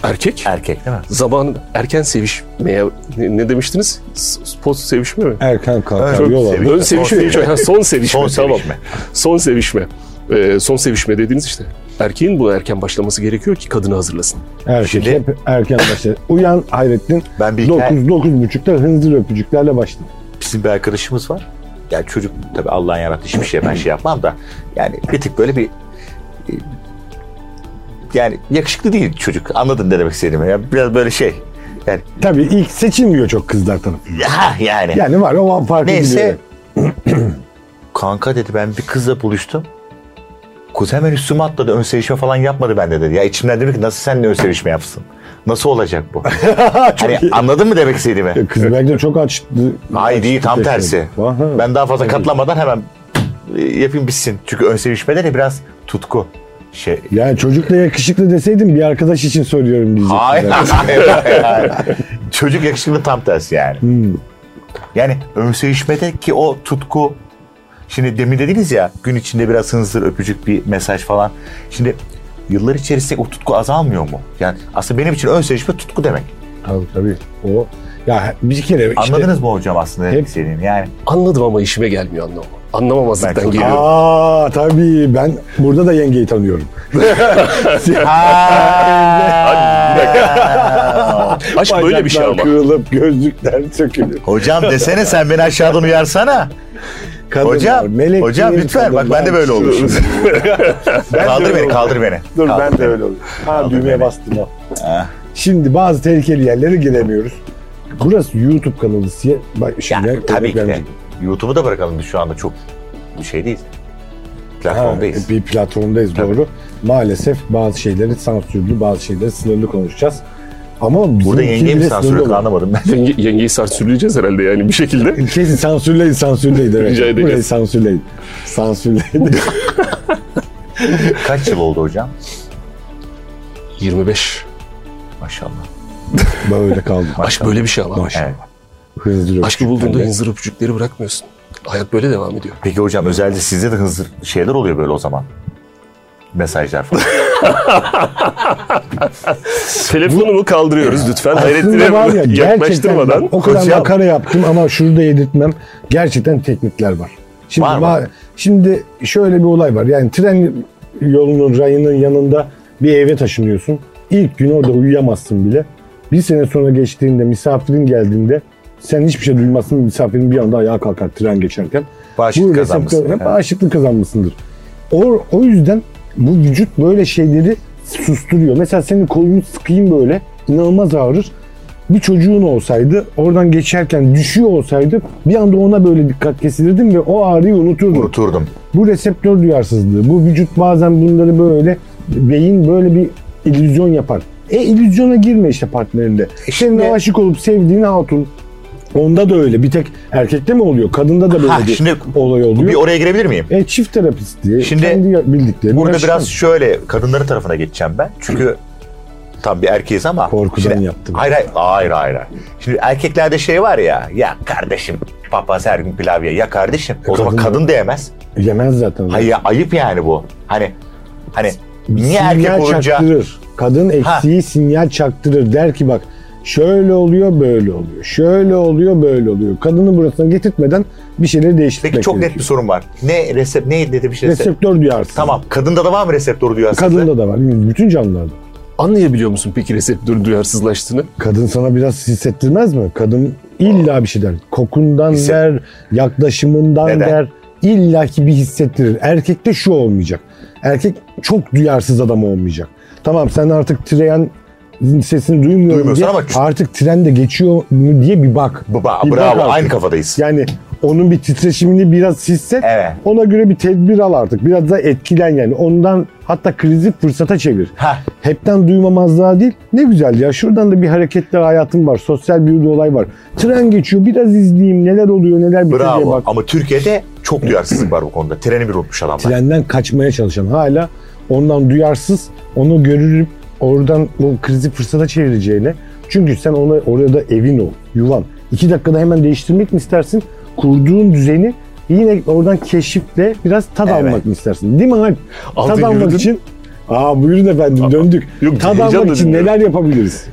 Speaker 2: Erkek
Speaker 4: Erkek değil mi?
Speaker 2: zamanı Er, erken sevişmeye ne, ne demiştiniz? S- Post sevişme mi?
Speaker 3: Erken kalkar
Speaker 4: Evet.
Speaker 3: yol alır.
Speaker 2: Ön
Speaker 4: Sevişme, son
Speaker 2: sevişme, [LAUGHS]
Speaker 4: sevişme.
Speaker 2: Ha, son sevişme.
Speaker 4: Son
Speaker 2: tamam.
Speaker 4: sevişme.
Speaker 2: Son sevişme. Ee, son sevişme dediğiniz işte. Erkeğin buna erken başlaması gerekiyor ki kadını hazırlasın.
Speaker 3: Erkek
Speaker 4: Şimdi-
Speaker 3: şey hep erken başlar. Uyan Hayrettin.
Speaker 4: Ben bir hikaye-
Speaker 3: 9 9.30'da hınzır öpücüklerle başlar.
Speaker 4: Bizim bir arkadaşımız var. Yani çocuk tabii Allah'ın yarattığı hiçbir şey ben şey yapmam da. Yani bir tık böyle bir e, yani yakışıklı değil çocuk. Anladın ne demek istediğimi. Ya biraz böyle şey. Yani
Speaker 3: Tabii ilk seçilmiyor çok kızlar tarafından.
Speaker 4: ha yani.
Speaker 3: Yani var o farkı
Speaker 4: Neyse.
Speaker 3: biliyorum.
Speaker 4: [CLEARS THROAT] Kanka dedi ben bir kızla buluştum. Kız hemen üstüme atladı. Ön sevişme falan yapmadı bende dedi. Ya içimden dedim ki nasıl seninle ön sevişme yapsın? Nasıl olacak bu? hani anladın mı demek istediğimi?
Speaker 3: Kız belki de çok açtı.
Speaker 4: Hayır değil tam
Speaker 3: açtı-
Speaker 4: tersi.
Speaker 3: Aha.
Speaker 4: Ben daha fazla katlamadan hemen e, yapayım bitsin. Çünkü ön sevişmeler ya biraz tutku. Şey.
Speaker 3: Yani çocukla yakışıklı deseydim bir arkadaş için söylüyorum diyecektim.
Speaker 4: Hayır, [LAUGHS]
Speaker 3: Yani.
Speaker 4: hayır, hayır, hayır. Çocuk yakışıklı tam tersi yani. Yani ön sevişmede ki o tutku Şimdi demin dediniz ya gün içinde biraz hınzır öpücük bir mesaj falan. Şimdi yıllar içerisinde o tutku azalmıyor mu? Yani aslında benim için ön sevişme tutku demek.
Speaker 3: Tabii tabii. O ya bir kere işte
Speaker 4: Anladınız mı hocam aslında
Speaker 3: Hep-
Speaker 4: demek istediğimi? Yani
Speaker 2: Anladım ama işime gelmiyor anlamam. Anlamamazlıktan
Speaker 4: Ben çok-
Speaker 2: geliyor.
Speaker 3: Aa tabii ben burada da yengeyi
Speaker 4: [LAUGHS]
Speaker 3: tanıyorum.
Speaker 2: Aşk böyle bir şey ama.
Speaker 3: Bacaklar Kırılıp gözlükler sökülür.
Speaker 4: Hocam
Speaker 3: [LAUGHS]
Speaker 4: desene sen beni aşağıdan uyarsana.
Speaker 3: Kadınlar,
Speaker 4: Hocam,
Speaker 3: melek
Speaker 4: hocam
Speaker 3: değil,
Speaker 4: lütfen bak ben de
Speaker 3: kadınlar.
Speaker 4: böyle olmuşum.
Speaker 3: [LAUGHS] Ben de
Speaker 4: kaldır
Speaker 3: öyle
Speaker 4: beni,
Speaker 3: oldum.
Speaker 4: kaldır beni.
Speaker 3: Dur
Speaker 4: Kaldır
Speaker 3: ben de
Speaker 4: beni.
Speaker 3: öyle oldum. Ha
Speaker 4: Kaldır
Speaker 3: düğmeye
Speaker 4: beni.
Speaker 3: bastım o.
Speaker 4: Ah.
Speaker 3: Şimdi bazı tehlikeli yerlere giremiyoruz. Burası YouTube kanalı diye. Bak şimdi
Speaker 4: Ya, tabii ki de.
Speaker 3: örnek
Speaker 4: YouTube'u da bırakalım biz şu anda çok şey değil. Platformdayız.
Speaker 3: Ha, e, bir platformdayız
Speaker 4: Tabii.
Speaker 3: doğru. Maalesef bazı şeyleri sansürlü, bazı şeyleri sınırlı konuşacağız. Ama bizim
Speaker 4: Burada yenge mi sansürledi
Speaker 3: anlamadım.
Speaker 4: anlamadım ben.
Speaker 2: Yenge, yengeyi sansürleyeceğiz herhalde yani bir şekilde.
Speaker 3: Kesin sansürleyin, sansürleyin. Evet.
Speaker 2: Rica ederiz.
Speaker 3: Burayı sansürleyin.
Speaker 4: [LAUGHS]
Speaker 3: Sansürleyin.
Speaker 4: Kaç yıl oldu hocam?
Speaker 2: 25.
Speaker 4: Maşallah.
Speaker 3: Böyle kaldım.
Speaker 2: Aşk böyle bir şey ama.
Speaker 3: Maşallah.
Speaker 4: Evet.
Speaker 3: Hızlı
Speaker 2: Aşkı bulduğunda hınzır öpücükleri bırakmıyorsun. Hayat böyle devam ediyor.
Speaker 4: Peki hocam özellikle sizde de hızlı şeyler oluyor böyle o zaman.
Speaker 3: [LAUGHS]
Speaker 4: Mesajlar falan.
Speaker 2: Telefonumu kaldırıyoruz lütfen. Hayrettin'e
Speaker 3: Aslında var ya
Speaker 4: [LAUGHS]
Speaker 3: gerçekten
Speaker 2: yaklaştırmadan.
Speaker 3: bak, o kadar
Speaker 4: hocam-
Speaker 3: makara yaptım ama şunu da yedirtmem. Gerçekten teknikler var. Şimdi
Speaker 4: Var mı?
Speaker 3: va- şimdi şöyle bir olay var. Yani tren yolunun rayının yanında bir eve taşınıyorsun. İlk gün orada uyuyamazsın bile. Bir sene sonra geçtiğinde misafirin geldiğinde sen hiçbir şey duymazsın. Misafirin bir anda ayağa kalkar tren geçerken.
Speaker 4: Bağışıklık
Speaker 3: Bu reseptör-
Speaker 4: kazanmışsın.
Speaker 3: hep
Speaker 4: Evet.
Speaker 3: Bağışıklık kazanmışsındır. O, o yüzden bu vücut böyle şeyleri susturuyor. Mesela senin kolunu sıkayım böyle inanılmaz ağrır. Bir çocuğun olsaydı oradan geçerken düşüyor olsaydı bir anda ona böyle dikkat kesilirdim ve o ağrıyı unuturdum.
Speaker 4: Unuturdum.
Speaker 3: Bu reseptör duyarsızlığı. Bu vücut bazen bunları böyle beyin böyle bir illüzyon yapar. E illüzyona girme işte partnerinde. Senin
Speaker 4: E şimdi-
Speaker 3: aşık olup sevdiğin hatun onda da öyle. Bir tek erkekte mi oluyor? Kadında da böyle
Speaker 4: Ha,
Speaker 3: bir
Speaker 4: şimdi
Speaker 3: olay oluyor.
Speaker 4: bir oraya girebilir miyim?
Speaker 3: E çift terapist diye
Speaker 4: Şimdi
Speaker 3: kendi bildiklerini
Speaker 4: Burada
Speaker 3: yaşıyor.
Speaker 4: biraz şöyle kadınların tarafına geçeceğim ben. Çünkü tam bir erkeğiz ama.
Speaker 3: Korkudan
Speaker 4: Şimdi-
Speaker 3: yaptım.
Speaker 4: Hayır hayır, hayır hayır. hayır. Şimdi erkeklerde şey var ya. Ya kardeşim papaz her gün pilav ye. Ya kardeşim. o zaman
Speaker 3: kadın-
Speaker 4: kadın da yemez.
Speaker 3: yemez zaten.
Speaker 4: Hayır ya, ayıp yani bu. Hani hani niye
Speaker 3: sinyal
Speaker 4: erkek olunca
Speaker 3: çaktırır. Kadın eksiği sinyal çaktırır. Der ki bak şöyle oluyor böyle oluyor. Şöyle oluyor böyle oluyor. Kadını burasına getirtmeden bir şeyleri değiştirmek
Speaker 4: Peki çok net bir
Speaker 3: gerekiyor.
Speaker 4: sorun var. Ne resep ne dedi bir şey resep.
Speaker 3: Reseptör duyarsın.
Speaker 4: Tamam. Kadında da var mı reseptörü diyor aslında?
Speaker 3: Kadında da var. Bütün canlılarda.
Speaker 2: Anlayabiliyor musun peki reseptörün duyarsızlaştığını?
Speaker 3: Kadın sana biraz hissettirmez mi? Kadın illa bir şey der. Kokundan
Speaker 4: Hisset-
Speaker 3: der, yaklaşımından
Speaker 4: Neden?
Speaker 3: der. İlla ki bir hissettirir. Erkekte şu olmayacak. Erkek çok duyarsız adam olmayacak. Tamam sen artık tren sesini duymuyorsun
Speaker 4: Duymuyorsun
Speaker 3: diye
Speaker 4: ama-
Speaker 3: artık tren de geçiyor mu diye bir bak.
Speaker 4: Baba,
Speaker 3: Bir bak
Speaker 4: bravo.
Speaker 3: artık.
Speaker 4: Aynı kafadayız.
Speaker 3: Yani onun bir titreşimini biraz hisset.
Speaker 4: Evet.
Speaker 3: Ona göre bir tedbir al artık. Biraz da etkilen yani. Ondan hatta krizi fırsata çevir.
Speaker 4: Ha.
Speaker 3: Hepten duymamazlığa değil. Ne güzel ya şuradan da bir hareketli hayatım var. Sosyal bir olay var. Tren geçiyor biraz izleyeyim neler oluyor neler bitiyor diye
Speaker 4: Bravo.
Speaker 3: bak.
Speaker 4: Ama Türkiye'de çok duyarsızlık var bu konuda. Treni bir unutmuş adamlar.
Speaker 3: Trenden kaçmaya çalışan hala ondan duyarsız onu görülüp oradan o krizi fırsata çevireceğine Çünkü sen ona orada evin ol, yuvan. İki dakikada hemen değiştirmek mi istersin? Kurduğun düzeni yine oradan keşifle biraz tad
Speaker 4: Evet.
Speaker 3: almak mı istersin? Değil mi Alp?
Speaker 4: Aldın,
Speaker 3: tad almak
Speaker 4: yürüdün.
Speaker 3: için Aa buyurun efendim döndük.
Speaker 2: Yok,
Speaker 3: tad
Speaker 2: heyecanla
Speaker 3: almak için
Speaker 2: dinliyorum.
Speaker 3: neler yapabiliriz?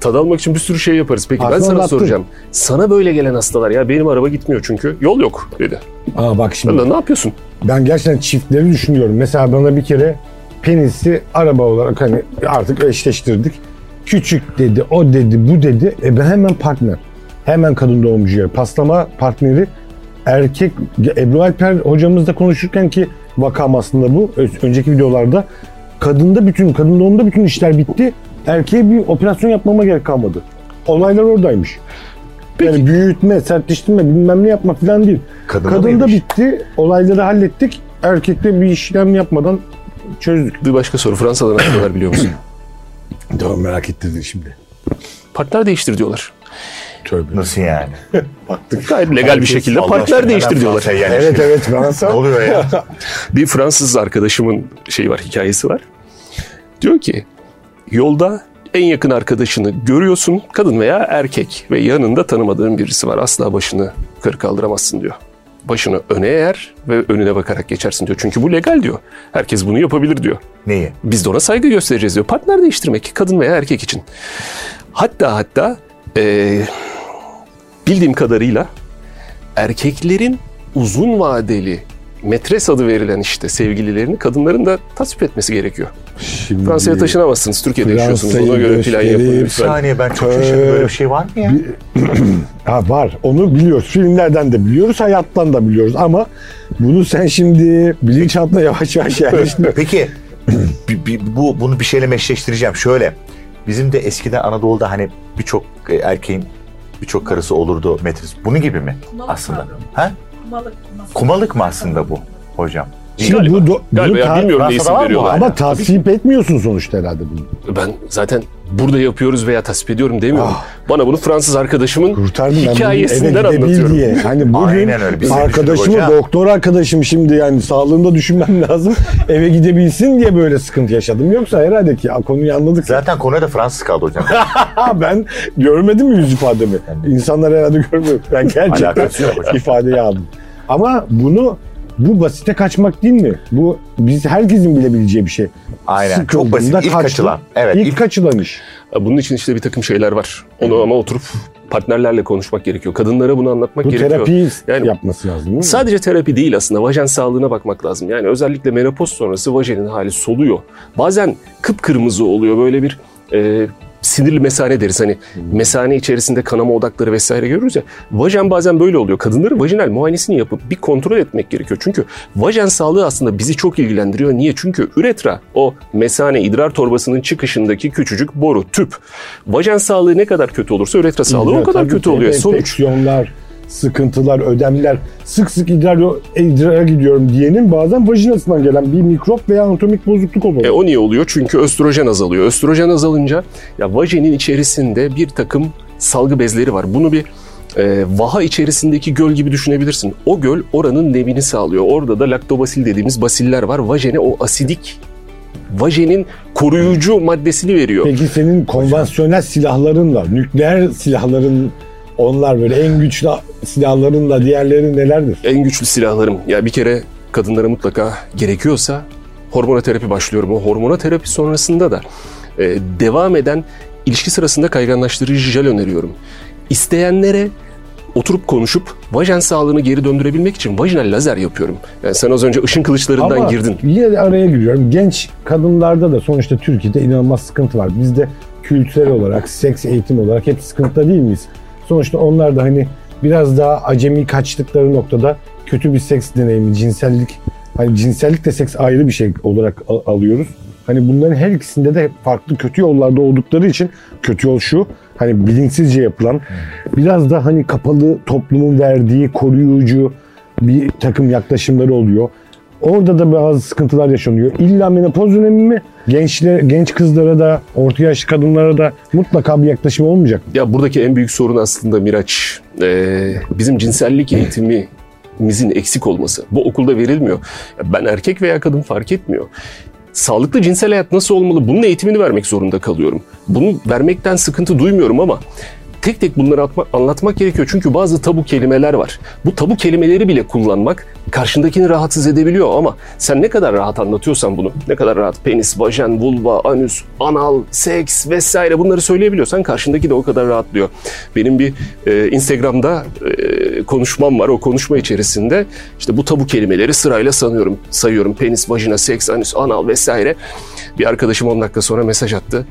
Speaker 2: Tad almak için bir sürü şey yaparız. Peki ben
Speaker 3: Aslında
Speaker 2: sana
Speaker 3: anlattın.
Speaker 2: soracağım. Sana böyle gelen hastalar ya benim araba gitmiyor çünkü yol yok dedi.
Speaker 3: Aa bak
Speaker 2: Ben
Speaker 3: şimdi
Speaker 2: de ne yapıyorsun?
Speaker 3: ben gerçekten çiftleri düşünüyorum. Mesela bana bir kere penisi araba olarak hani artık eşleştirdik. Küçük dedi, o dedi, bu dedi. E ben hemen partner. Hemen kadın doğumcuya. Paslama partneri erkek. Ebru Alper hocamızla konuşurken ki vakam aslında bu. Ö- Önceki videolarda kadında bütün, kadın doğumda bütün işler bitti. Erkeğe bir operasyon yapmama gerek kalmadı. Olaylar oradaymış. Yani büyütme, sertleştirme, bilmem ne yapma falan değil.
Speaker 4: Kadında
Speaker 3: Kadında
Speaker 4: mıymış?
Speaker 3: bitti. Olayları hallettik. Erkekte bir işlem yapmadan çözdük.
Speaker 2: Bir başka soru Fransa'da ne kadar biliyor [CLEARS THROAT] musun?
Speaker 3: Tamam merak ettirdin şimdi.
Speaker 2: Partner değiştir diyorlar.
Speaker 3: Tövbe.
Speaker 4: Nasıl yani?
Speaker 2: Gayet legal bir şekilde
Speaker 4: şey Allah
Speaker 2: partner
Speaker 4: aşkına,
Speaker 2: değiştir
Speaker 4: neden
Speaker 2: diyorlar.
Speaker 4: Fransa'ya yani
Speaker 3: Evet
Speaker 4: şey-
Speaker 3: evet [LAUGHS] ben
Speaker 4: Ne oluyor ya?
Speaker 2: Bir Fransız arkadaşımın şeyi var, hikayesi var. Diyor ki yolda en yakın arkadaşını görüyorsun kadın veya erkek ve yanında tanımadığın birisi var. Asla başını yukarı kaldıramazsın diyor. Başını öne eğer ve önüne bakarak geçersin diyor. Çünkü bu legal diyor. Herkes bunu yapabilir diyor.
Speaker 4: Neyi?
Speaker 2: Biz de ona saygı göstereceğiz diyor. Partner değiştirmek kadın veya erkek için. Hatta hatta eee, bildiğim kadarıyla erkeklerin uzun vadeli metres adı verilen işte sevgililerini kadınların da tasvip etmesi gerekiyor.
Speaker 3: Şimdi
Speaker 2: Fransa'ya taşınamazsınız. Türkiye'de yaşıyorsunuz. Ona
Speaker 3: Fransa'yı
Speaker 2: göre plan yapın
Speaker 3: göstereyim.
Speaker 4: Bir
Speaker 2: lütfen.
Speaker 4: saniye ben
Speaker 3: Ee,
Speaker 4: çok şaşırdım. Böyle bir şey var mı ya?
Speaker 3: Ha var. Onu biliyoruz. Filmlerden de biliyoruz. Hayattan da biliyoruz. Ama bunu sen şimdi bilinçaltına yavaş yavaş [LAUGHS] yerleştir.
Speaker 4: Peki bi- bi- bu bunu bir şeyle meşleştireceğim. Şöyle bizim de eskiden Anadolu'da hani birçok e, erkeğin birçok karısı olurdu metres. Bunun gibi mi
Speaker 5: Kumalık
Speaker 4: aslında?
Speaker 5: kavramı.
Speaker 4: Ha?
Speaker 5: Kumalık. nasıl?
Speaker 4: Kumalık mı aslında bu hocam?
Speaker 3: Şimdi
Speaker 2: Galiba.
Speaker 3: bu, do-
Speaker 2: Galiba
Speaker 3: bunu
Speaker 2: ya
Speaker 3: ta-
Speaker 2: bilmiyorum ne
Speaker 4: Fransa'da
Speaker 2: isim
Speaker 4: var mı
Speaker 2: veriyorlar.
Speaker 3: ama tasvip etmiyorsun sonuçta herhalde bunu.
Speaker 2: Ben zaten burada yapıyoruz veya tasvip ediyorum demiyorum. Bana bunu Fransız arkadaşımın
Speaker 3: Ah. Kurtardım ben bunu eve
Speaker 2: hikayesinden
Speaker 3: gidebil
Speaker 2: anlatıyorum.
Speaker 3: diye. Hani bugün
Speaker 4: Aynen öyle, biz de
Speaker 3: arkadaşımı,
Speaker 4: düşündük hocam.
Speaker 3: doktor arkadaşım şimdi yani sağlığında düşünmem [LAUGHS] lazım. eve gidebilsin diye böyle sıkıntı yaşadım. Yoksa herhalde ki ya, konuyu anladık.
Speaker 4: Zaten konuya da Fransız kaldı
Speaker 3: [LAUGHS]
Speaker 4: hocam.
Speaker 3: Ha ben görmedim mi yüz ifademi? İnsanlar herhalde görmüyor.
Speaker 4: [LAUGHS]
Speaker 3: Ben gerçekten
Speaker 4: Alakası yok hocam.
Speaker 3: ifadeyi aldım. Ama bunu bu basite kaçmak değil mi? Bu biz herkesin bilebileceği bir şey.
Speaker 4: Aynen. Çok
Speaker 3: Sıkıldığında
Speaker 4: basit. İlk
Speaker 3: kaçtın.
Speaker 4: kaçılan. Evet.
Speaker 3: İlk,
Speaker 4: ilk-
Speaker 3: kaçılan iş.
Speaker 2: E, Bunun için işte bir takım şeyler var. Onu ama oturup partnerlerle konuşmak gerekiyor. Kadınlara bunu anlatmak
Speaker 3: Bu
Speaker 2: gerekiyor.
Speaker 3: terapiyi
Speaker 2: Yani-
Speaker 3: yapması lazım değil mi?
Speaker 2: Sadece terapi değil aslında. Vajen sağlığına bakmak lazım. Yani özellikle menopoz sonrası vajenin hali soluyor. Bazen kıpkırmızı oluyor. Böyle bir e, sinirli mesane deriz. Hani
Speaker 3: Hmm.
Speaker 2: mesane içerisinde kanama odakları vesaire görürüz ya. Vajen bazen böyle oluyor. Kadınların vajinal muayenesini yapıp bir kontrol etmek gerekiyor. Çünkü vajen sağlığı aslında bizi çok ilgilendiriyor. Niye? Çünkü üretra o mesane idrar torbasının çıkışındaki küçücük boru, tüp. Vajen sağlığı ne kadar kötü olursa üretra sağlığı o
Speaker 3: İdrar
Speaker 2: kadar
Speaker 3: tabii
Speaker 2: kötü
Speaker 3: ki,
Speaker 2: oluyor. Sonuç
Speaker 3: Enfeksiyonlar, sıkıntılar, ödemler, sık sık idrar idrara gidiyorum diyenin bazen vajinasından gelen bir mikrop veya anatomik bozukluk oluyor.
Speaker 2: E, o niye oluyor? Çünkü östrojen azalıyor. Östrojen azalınca ya vajenin içerisinde bir takım salgı bezleri var. Bunu bir e, vaha içerisindeki göl gibi düşünebilirsin. O göl oranın nemini sağlıyor. Orada da laktobasil dediğimiz basiller var. Vajene o asidik vajenin koruyucu maddesini veriyor.
Speaker 3: Peki senin konvansiyonel silahlarınla, nükleer silahların onlar böyle en güçlü silahlarınla diğerleri nelerdir?
Speaker 2: En güçlü silahlarım. Ya bir kere kadınlara mutlaka gerekiyorsa hormonoterapi başlıyorum. O hormonoterapi sonrasında da e, devam eden ilişki sırasında kayganlaştırıcı jel öneriyorum. İsteyenlere oturup konuşup vajen sağlığını geri döndürebilmek için vajinal lazer yapıyorum. Yani sen az önce ışın kılıçlarından
Speaker 3: Ama
Speaker 2: girdin.
Speaker 3: yine de araya giriyorum. Genç kadınlarda da sonuçta Türkiye'de inanılmaz sıkıntı var. Biz de kültürel olarak, seks eğitim olarak hep sıkıntıda değil miyiz? Sonuçta onlar da hani biraz daha acemi kaçtıkları noktada kötü bir seks deneyimi, cinsellik, hani cinsellik de seks ayrı bir şey olarak al- alıyoruz. Hani bunların her ikisinde de hep farklı kötü yollarda oldukları için kötü yol şu hani bilinçsizce yapılan biraz da hani kapalı toplumun verdiği koruyucu bir takım yaklaşımları oluyor. Orada da bazı sıkıntılar yaşanıyor. İlla menopoz dönemi mi? Gençler, genç kızlara da, orta yaşlı kadınlara da mutlaka bir yaklaşım olmayacak mı?
Speaker 2: Ya buradaki en büyük sorun aslında Miraç. e, bizim cinsellik eğitimimizin eksik olması. Bu okulda verilmiyor. Ya Ben erkek veya kadın fark etmiyor. sağlıklı cinsel hayat nasıl olmalı bunun eğitimini vermek zorunda kalıyorum. Bunu vermekten sıkıntı duymuyorum ama tek tek bunları atma- anlatmak gerekiyor. Çünkü bazı tabu kelimeler var. Bu tabu kelimeleri bile kullanmak karşındakini rahatsız edebiliyor ama sen ne kadar rahat anlatıyorsan bunu, ne kadar rahat penis, vajen, vulva, anüs, anal, seks vesaire bunları söyleyebiliyorsan karşındaki de o kadar rahatlıyor. Benim bir e, Instagram'da e, konuşmam var. O konuşma içerisinde işte bu tabu kelimeleri sırayla sanıyorum, sayıyorum. Penis, vajina, seks, anüs, anal vesaire. Bir arkadaşım 10 dakika sonra mesaj attı.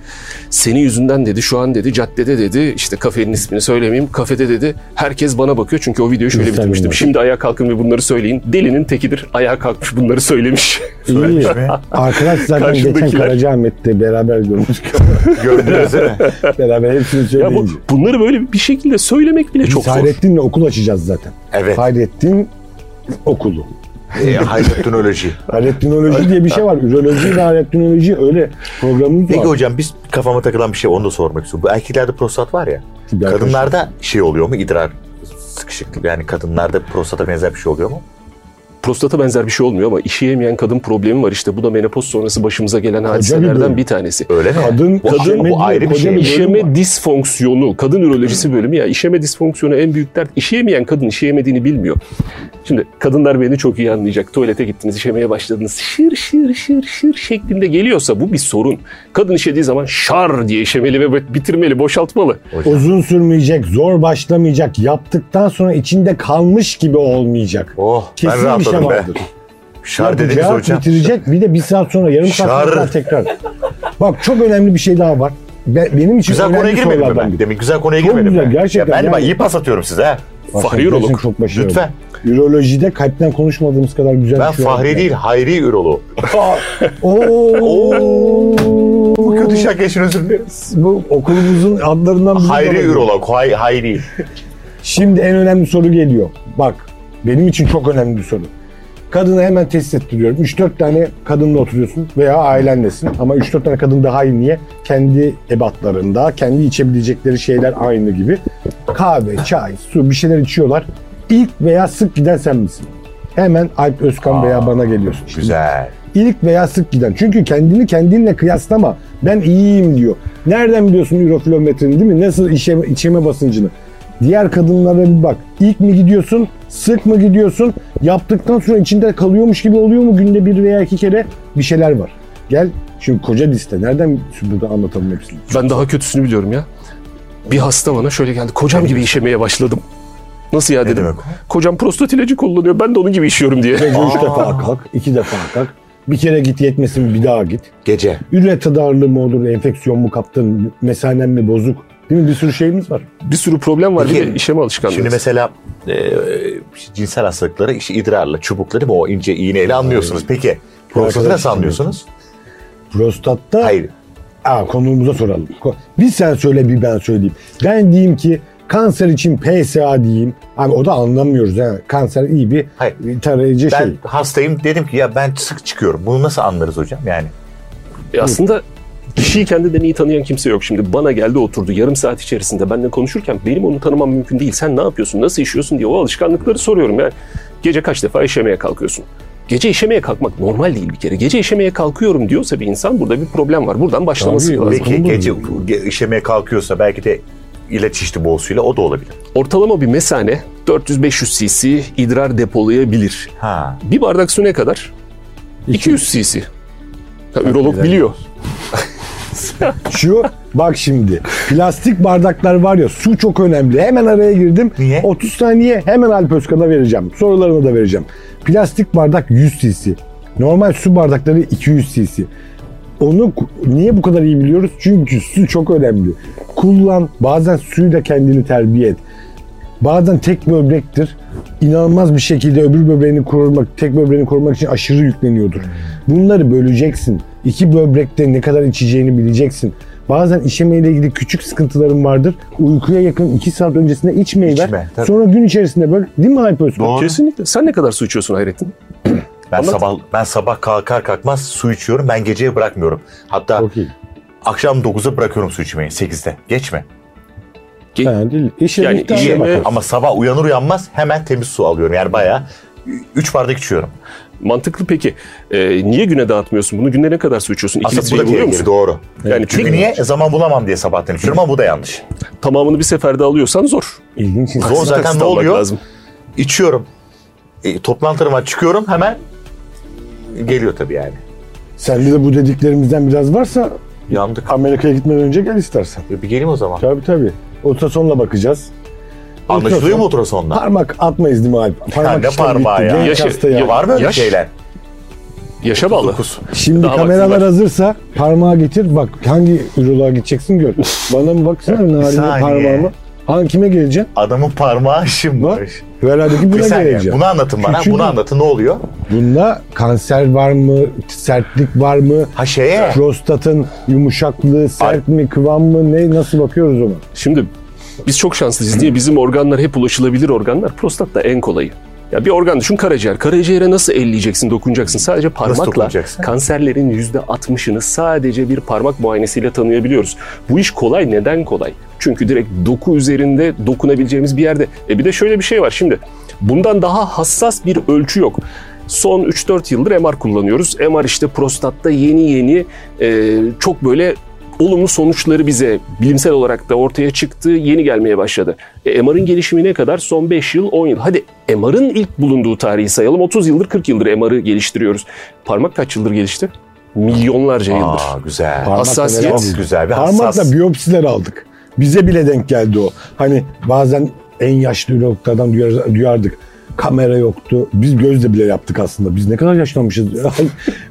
Speaker 2: Senin yüzünden dedi şu an dedi caddede dedi işte kafenin ismini söylemeyeyim kafede dedi herkes bana bakıyor çünkü o videoyu şöyle
Speaker 3: Instagram'da.
Speaker 2: bitirmiştim. Şimdi ayağa kalkın ve bunları söyleyin. Delinin tekidir ayağa kalkmış bunları söylemiş. [LAUGHS]
Speaker 3: İyi.
Speaker 4: mi?
Speaker 3: Arkadaş zaten geçen
Speaker 2: Karşımdakiler.
Speaker 3: Karacaahmet'te beraber
Speaker 4: [LAUGHS]
Speaker 3: görmüş.
Speaker 4: Gördünüz değil mi?
Speaker 3: [LAUGHS] beraber hepsini
Speaker 2: ya bu,
Speaker 3: söyleyince.
Speaker 2: bunları böyle bir şekilde söylemek bile çok
Speaker 3: Biz
Speaker 2: zor.
Speaker 3: Hayrettin'le okul açacağız zaten.
Speaker 4: Evet.
Speaker 3: Hayrettin okulu.
Speaker 4: E, Hayrettinoloji.
Speaker 3: Hayrettinoloji diye bir şey var. Üroloji ve hayrettinoloji öyle programımız
Speaker 4: Peki
Speaker 3: var.
Speaker 4: hocam biz kafama takılan bir şey onu da sormak istiyorum. Bu erkeklerde prostat var ya.
Speaker 3: Tabii arkadaşlar.
Speaker 4: kadınlarda şey oluyor mu idrar sıkışıklığı? Yani kadınlarda prostata benzer bir şey oluyor mu?
Speaker 2: Prostata benzer bir şey olmuyor ama işeyemeyen kadın problemi var işte bu da menopoz sonrası başımıza gelen hadiselerden
Speaker 3: bölüm.
Speaker 2: bir tanesi.
Speaker 4: Öyle mi?
Speaker 3: Kadın-
Speaker 4: bu,
Speaker 3: kadın-
Speaker 4: ama bu ayrı bir
Speaker 3: koca
Speaker 4: şey.
Speaker 3: bir- bölüm var.
Speaker 2: İşeme disfonksiyonu, kadın ürolojisi bölümü ya işeme disfonksiyonu en büyük dert. İşeyemeyen kadın işeyemediğini bilmiyor. Şimdi kadınlar beni çok iyi anlayacak. Tuvalete gittiniz, işemeye başladınız. Şır şır şır şır şeklinde geliyorsa bu bir sorun. Kadın işediği zaman şar diye işemeli ve bitirmeli, boşaltmalı.
Speaker 3: Uzun sürmeyecek, zor başlamayacak, yaptıktan sonra içinde kalmış gibi olmayacak.
Speaker 4: Oh ben
Speaker 3: Kesin bir şey
Speaker 4: rahatladım be.
Speaker 3: vardır.
Speaker 4: Şar dediniz
Speaker 3: Yapacak,
Speaker 4: hocam.
Speaker 3: Bitirecek bir de bir saat sonra yarım saat
Speaker 4: Şar.
Speaker 3: sonra tekrar. Bak çok önemli bir şey daha var. Be- benim için
Speaker 4: Güzel konuya
Speaker 3: önemli
Speaker 4: girmedim mi
Speaker 3: sorulardan
Speaker 4: ben?
Speaker 3: biri.
Speaker 4: Demin güzel konuya
Speaker 3: Çok
Speaker 4: girmedim
Speaker 3: güzel,
Speaker 4: mi?
Speaker 3: gerçekten
Speaker 4: Ya ben
Speaker 3: yani.
Speaker 4: bak iyi pas atıyorum size ha.
Speaker 3: Bak,
Speaker 2: Fahri
Speaker 3: gerçekten
Speaker 2: Urolog.
Speaker 3: Çok başarılı.
Speaker 4: Lütfen.
Speaker 3: Ürolojide kalpten konuşmadığımız kadar güzel
Speaker 4: Ben
Speaker 3: bir şey var.
Speaker 4: Fahri değil, Hayri Ürolu.
Speaker 3: Oo.
Speaker 4: Bu kötü şaka için özür dileriz.
Speaker 3: Bu okulumuzun adlarından biri
Speaker 4: Hayri
Speaker 3: olabilir.
Speaker 4: Ürolog, Hay, Hayri.
Speaker 3: Şimdi en önemli soru geliyor. Bak benim için çok önemli bir soru. Kadını hemen test ettiriyorum. 3-4 tane kadınla oturuyorsun veya ailenlesin. Ama 3-4 tane kadın daha iyi niye? Kendi ebatlarında, kendi içebilecekleri şeyler aynı gibi. Kahve, çay, su bir şeyler içiyorlar. İlk veya sık giden sen misin? Hemen Alp Özkan veya bana geliyorsun. İşte
Speaker 4: Güzel.
Speaker 3: İlk veya sık giden. Çünkü kendini kendinle kıyaslama. Ben iyiyim diyor. Nereden biliyorsun ürofilometrini değil mi? Nasıl işe, içeme basıncını? Diğer kadınlara bir bak. İlk mi gidiyorsun? Sık mı gidiyorsun? Yaptıktan sonra içinde kalıyormuş gibi oluyor mu? Günde bir veya iki kere bir şeyler var. Gel şimdi koca liste. Nereden burada anlatalım hepsini?
Speaker 2: Ben daha kötüsünü biliyorum ya. Bir hasta bana şöyle geldi. Kocam gibi işemeye başladım. Nasıl ya dedim.
Speaker 4: demek o?
Speaker 2: Kocam prostat ilacı kullanıyor. Ben de onun gibi işiyorum diye.
Speaker 3: Gece üç defa kalk, iki defa kalk. Bir kere git yetmesin bir daha git.
Speaker 4: Gece.
Speaker 3: Üretra darlığı mı olur, enfeksiyon mu kaptın, mesanen mi bozuk? Değil mi? Bir sürü şeyimiz var.
Speaker 2: Bir sürü problem var. Bir
Speaker 4: Peki,
Speaker 2: de işeme alışkanlığı.
Speaker 4: Şimdi mesela e, cinsel hastalıkları işte idrarla, çubukla değil mi? O ince iğneyle anlıyorsunuz. Peki prostatı
Speaker 3: arkadaş
Speaker 4: nasıl
Speaker 3: işte.
Speaker 4: anlıyorsunuz?
Speaker 3: Prostatta
Speaker 4: Hayır.
Speaker 3: Aa, konuğumuza soralım. Ko- Bir sen söyle bir ben söyleyeyim. Ben diyeyim ki kanser için PSA diyeyim. Abi o da anlamıyoruz. ha. Kanser iyi bir
Speaker 4: Hayır.
Speaker 3: tarayıcı
Speaker 4: Ben
Speaker 3: şey.
Speaker 4: hastayım dedim ki ya ben sık çıkıyorum. Bunu nasıl anlarız hocam yani?
Speaker 2: E aslında kişiyi kendinden iyi tanıyan kimse yok. Şimdi bana geldi oturdu yarım saat içerisinde benimle konuşurken benim onu tanımam mümkün değil. Sen ne yapıyorsun, nasıl işiyorsun diye o alışkanlıkları soruyorum. Yani gece kaç defa işemeye kalkıyorsun? Gece işemeye kalkmak normal değil bir kere. Gece işemeye kalkıyorum diyorsa bir insan burada bir problem var. Buradan başlaması
Speaker 3: Tabii,
Speaker 2: lazım.
Speaker 4: Peki
Speaker 3: bunu
Speaker 4: gece ge- işemeye kalkıyorsa belki de ilaç içti boğusuyla o da olabilir.
Speaker 2: Ortalama bir mesane 400-500 cc idrar depolayabilir.
Speaker 4: Ha.
Speaker 2: Bir bardak su ne kadar? 200 cc. Ha, ürolog biliyor.
Speaker 3: Şu bak şimdi plastik bardaklar var ya su çok önemli. Hemen araya girdim.
Speaker 4: Niye?
Speaker 3: 30 saniye hemen Alp Özkan'a vereceğim. Sorularını da vereceğim. Plastik bardak 100 cc. Normal su bardakları 200 cc. Onu ku- niye bu kadar iyi biliyoruz? Çünkü su çok önemli. Kullan, bazen suyla kendini terbiye et. Bazen tek böbrektir. İnanılmaz bir şekilde öbür böbreğini korumak, tek böbreğini korumak için aşırı yükleniyordur. Bunları böleceksin. İki böbrekte ne kadar içeceğini bileceksin. Bazen işemeyle ilgili küçük sıkıntıların vardır. Uykuya yakın 2 saat öncesinde içmeyi ver.
Speaker 4: İçme, tabii.
Speaker 3: Sonra gün içerisinde böl. Değil mi Alp Özkan?
Speaker 4: Doğru.
Speaker 2: Kesinlikle. Sen ne kadar su içiyorsun Hayrettin?
Speaker 4: Ben
Speaker 2: Anlat.
Speaker 4: sabah ben sabah kalkar kalkmaz su içiyorum. Ben geceye bırakmıyorum. Hatta
Speaker 3: Çok iyi.
Speaker 4: akşam 9'a bırakıyorum su içmeyi 8'de. Geçme.
Speaker 2: Ge-
Speaker 3: Yani değil. İşe
Speaker 2: Yani
Speaker 3: miktarına
Speaker 2: işe-
Speaker 3: bakıyoruz.
Speaker 4: Ama sabah uyanır uyanmaz hemen temiz su alıyorum. Yani bayağı 3 bardak içiyorum.
Speaker 2: Mantıklı peki. Ee, niye güne dağıtmıyorsun bunu? Günde ne kadar su içiyorsun? İki
Speaker 4: Aslında bu
Speaker 2: litreyi
Speaker 4: da
Speaker 2: buluyor
Speaker 4: tehlikeli,
Speaker 2: musun?
Speaker 4: doğru.
Speaker 2: Yani
Speaker 4: Çünkü
Speaker 2: çünkü
Speaker 4: niye? E, Zaman bulamam diye sabahtan içiyorum ama bu da yanlış.
Speaker 2: tamamını bir seferde alıyorsan zor.
Speaker 3: İlginç insan.
Speaker 4: Zor zaten
Speaker 2: Taksit
Speaker 4: ne
Speaker 2: almak
Speaker 4: oluyor?
Speaker 2: lazım.
Speaker 4: İçiyorum. E, toplantılarıma çıkıyorum hemen geliyor tabii yani.
Speaker 3: Sende de bu dediklerimizden biraz varsa
Speaker 4: Yandık.
Speaker 3: Amerika'ya gitmeden önce gel istersen.
Speaker 4: E, Bir geleyim o zaman.
Speaker 3: Tabii tabii. Ultrasonla bakacağız.
Speaker 4: Anlaşılıyor
Speaker 3: Ultrason.
Speaker 4: mu ultrasonla?
Speaker 3: Parmak atmayız değil mi Alp? Parmak
Speaker 4: ne
Speaker 3: işlemi
Speaker 4: parmağı
Speaker 3: bitti.
Speaker 4: ya?
Speaker 3: Genç
Speaker 2: Yaşı-
Speaker 3: hasta ya.
Speaker 2: ya-
Speaker 4: Var mı öyle
Speaker 2: Yaş.
Speaker 4: şeyler?
Speaker 2: Yaşa bağlı.
Speaker 3: Şimdi
Speaker 2: Daha
Speaker 3: kameralar
Speaker 2: vaktimiz var.
Speaker 3: hazırsa parmağı getir. Bak hangi üroloğa gideceksin gör. Bana mı
Speaker 4: [LAUGHS]
Speaker 3: baksana narinle
Speaker 4: saniye.
Speaker 3: parmağıma. Han kime geleceksin?
Speaker 4: Adamın parmağı
Speaker 3: Bak.
Speaker 4: şımmış.
Speaker 3: Herhalde
Speaker 4: Bir
Speaker 3: buna
Speaker 4: saniye,
Speaker 3: geleceksin.
Speaker 4: Bunu anlatın bana.
Speaker 3: Küçüğü-
Speaker 4: Bunu anlatın ne oluyor?
Speaker 3: Bunda kanser var mı? Sertlik var mı?
Speaker 4: Ha şeye.
Speaker 3: Prostatın yumuşaklığı sert mi, kıvam mı, ne nasıl bakıyoruz ona?
Speaker 2: Şimdi biz çok şanslıyız diye bizim organlar hep ulaşılabilir organlar. Prostat da en kolayı. Ya bir organ düşün karaciğer. Karaciğere nasıl elleyeceksin, dokunacaksın? Sadece parmakla
Speaker 4: dokunacaksın?
Speaker 2: kanserlerin %60'ını sadece bir parmak muayenesiyle tanıyabiliyoruz. Bu iş kolay. Neden kolay? Çünkü direkt doku üzerinde dokunabileceğimiz bir yerde. E bir de şöyle bir şey var şimdi. Bundan daha hassas bir ölçü yok. Son 3-4 yıldır MR kullanıyoruz. MR işte prostatta yeni yeni e, çok böyle olumlu sonuçları bize bilimsel olarak da ortaya çıktı, yeni gelmeye başladı. E, MR'ın gelişimi ne kadar? Son 5 yıl, 10 yıl. Hadi MR'ın ilk bulunduğu tarihi sayalım. 30 yıldır, 40 yıldır MR'ı geliştiriyoruz. Parmak kaç yıldır gelişti? Milyonlarca yıldır.
Speaker 4: Aa güzel.
Speaker 3: Parmakla
Speaker 2: Hassasiyet.
Speaker 4: Çok güzel bir hassas.
Speaker 3: Parmakla biyopsiler aldık. Bize bile denk geldi o. Hani bazen en yaşlı ürologlardan duyar- duyardık. Kamera yoktu. Biz gözle bile yaptık aslında. Biz ne kadar yaşlanmışız. [LAUGHS] ya.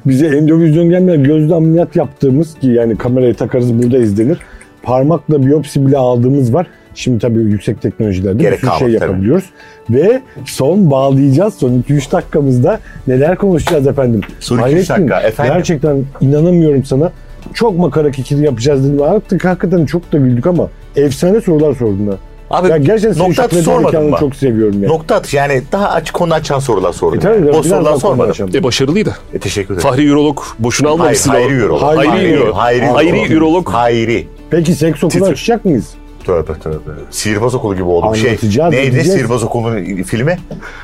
Speaker 3: Bize endovizyon gelmeden gözle ameliyat yaptığımız ki yani kamerayı takarız burada izlenir. Parmakla biyopsi bile aldığımız var. Şimdi tabii yüksek teknolojilerde
Speaker 4: Gerek
Speaker 3: bir sürü şey
Speaker 4: kalmadı tabii.
Speaker 3: yapabiliyoruz. Ve son bağlayacağız. Son 2-3 dakikamızda neler konuşacağız efendim.
Speaker 4: Son iki, üç
Speaker 3: Hayrettin,
Speaker 4: dakika, efendim.
Speaker 3: Gerçekten inanamıyorum sana. Çok makara kikiri yapacağız dedim. Artık hakikaten çok da güldük ama efsane sorular sordun ha.
Speaker 4: Abi
Speaker 3: Ya gerçekten senin
Speaker 4: nokta
Speaker 3: şakladan
Speaker 4: sormadın
Speaker 3: zekanı
Speaker 4: mı?
Speaker 3: çok seviyorum yani.
Speaker 4: Nokta atış yani daha açık konu açan sorular sordum.
Speaker 3: E tabii, biraz
Speaker 4: o
Speaker 3: daha
Speaker 4: sorular
Speaker 3: konu
Speaker 4: sormadım.
Speaker 3: açalım.
Speaker 2: E başarılıydı.
Speaker 4: E, teşekkür ederim.
Speaker 2: Fahri Ürolog boşuna
Speaker 4: Hayır,
Speaker 2: almamışsın.
Speaker 4: hayri
Speaker 2: o-
Speaker 4: ürolog.
Speaker 3: Hayri
Speaker 2: ürolog.
Speaker 4: Hayri ürolog.
Speaker 2: Hayri ürolog.
Speaker 4: Hayri.
Speaker 3: Peki seks okulu
Speaker 2: Titre-
Speaker 3: açacak mıyız?
Speaker 4: Tövbe tövbe. Sihirbaz okulu gibi oldu. Bir Şey,
Speaker 3: Anlatacağız,
Speaker 4: neydi
Speaker 3: edeceğiz.
Speaker 4: sihirbaz okulunun filmi?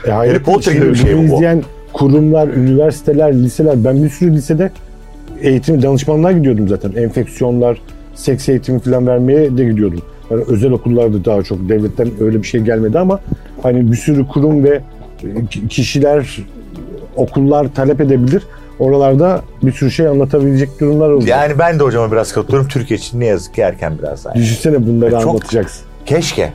Speaker 3: E, hayır.
Speaker 4: Harry Potter gibi bir
Speaker 3: Şimdi
Speaker 4: şey
Speaker 3: bunu
Speaker 4: bu.
Speaker 3: izleyen kurumlar, üniversiteler, liseler. Ben bir sürü lisede eğitim danışmanlığa gidiyordum zaten. Enfeksiyonlar, seks eğitimi falan vermeye de gidiyordum. Yani özel okullarda daha çok devletten öyle bir şey gelmedi ama hani bir sürü kurum ve e, ki- kişiler, okullar talep edebilir. Oralarda bir sürü şey anlatabilecek durumlar olacak.
Speaker 4: Yani ben de hocama biraz katılıyorum. Türkiye için ne yazık ki erken biraz daha.
Speaker 3: Düşünsene bunları
Speaker 4: E, Çok-
Speaker 3: anlatacaksın.
Speaker 4: Keşke.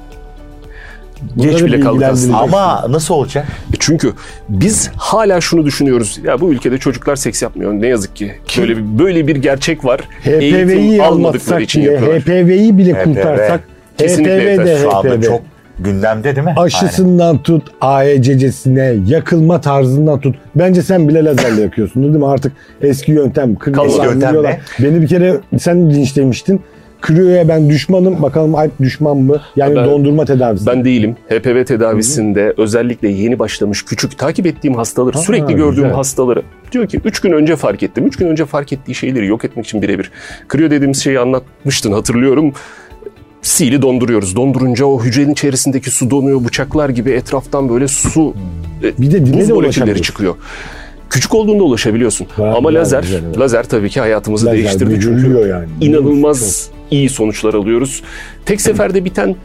Speaker 2: Geç
Speaker 3: Bunları
Speaker 2: bile kaldık aslında.
Speaker 3: bilgilendireceksin.
Speaker 4: Ama nasıl olacak?
Speaker 2: Çünkü biz hala şunu düşünüyoruz. Ya bu ülkede çocuklar seks yapmıyor. Ne yazık ki. Böyle bir, böyle bir gerçek var.
Speaker 3: HPV'yi
Speaker 2: almadıkları
Speaker 3: almasak
Speaker 2: için
Speaker 3: bile,
Speaker 2: yapıyorlar.
Speaker 3: HPV'yi bile
Speaker 4: HPV.
Speaker 3: kurtarsak,
Speaker 2: Kesinlikle
Speaker 3: HPV de
Speaker 2: yeter.
Speaker 4: Şu anda
Speaker 3: HPV.
Speaker 4: çok gündemde değil mi?
Speaker 3: Aşısından tut, AECC'sine, yakılma tarzından tut. Bence sen bile lazerle yakıyorsun değil mi? Artık eski yöntem. kırıyorlar,
Speaker 4: Eski yöntem
Speaker 3: vuruyorlar. Beni bir kere sen linç demiştin. Kriyoya ben düşmanım. Bakalım Alp düşman mı? Yani
Speaker 2: Ben-
Speaker 3: dondurma tedavisi.
Speaker 2: Ben değilim. HPV tedavisinde özellikle yeni başlamış küçük takip ettiğim hastaları, sürekli gördüğüm
Speaker 3: güzel.
Speaker 2: hastaları diyor ki 3 gün önce fark ettim. 3 gün önce fark ettiği şeyleri yok etmek için birebir. Kriyo dediğimiz şeyi anlatmıştın hatırlıyorum. Sili donduruyoruz. Dondurunca o hücrenin içerisindeki su donuyor. Bıçaklar gibi etraftan böyle su e,
Speaker 3: Bir de dile
Speaker 2: buz
Speaker 3: de
Speaker 2: molekülleri
Speaker 3: ulaşabiliyorsun.
Speaker 2: çıkıyor. Küçük olduğunda ulaşabiliyorsun.
Speaker 3: Bayağı
Speaker 2: Ama
Speaker 3: güzel,
Speaker 2: lazer,
Speaker 3: güzel, evet.
Speaker 2: lazer tabii ki hayatımızı
Speaker 3: Lazer
Speaker 2: değiştirdi. Çünkü
Speaker 3: büyülüyor yani.
Speaker 2: inanılmaz iyi sonuçlar alıyoruz. Tek seferde biten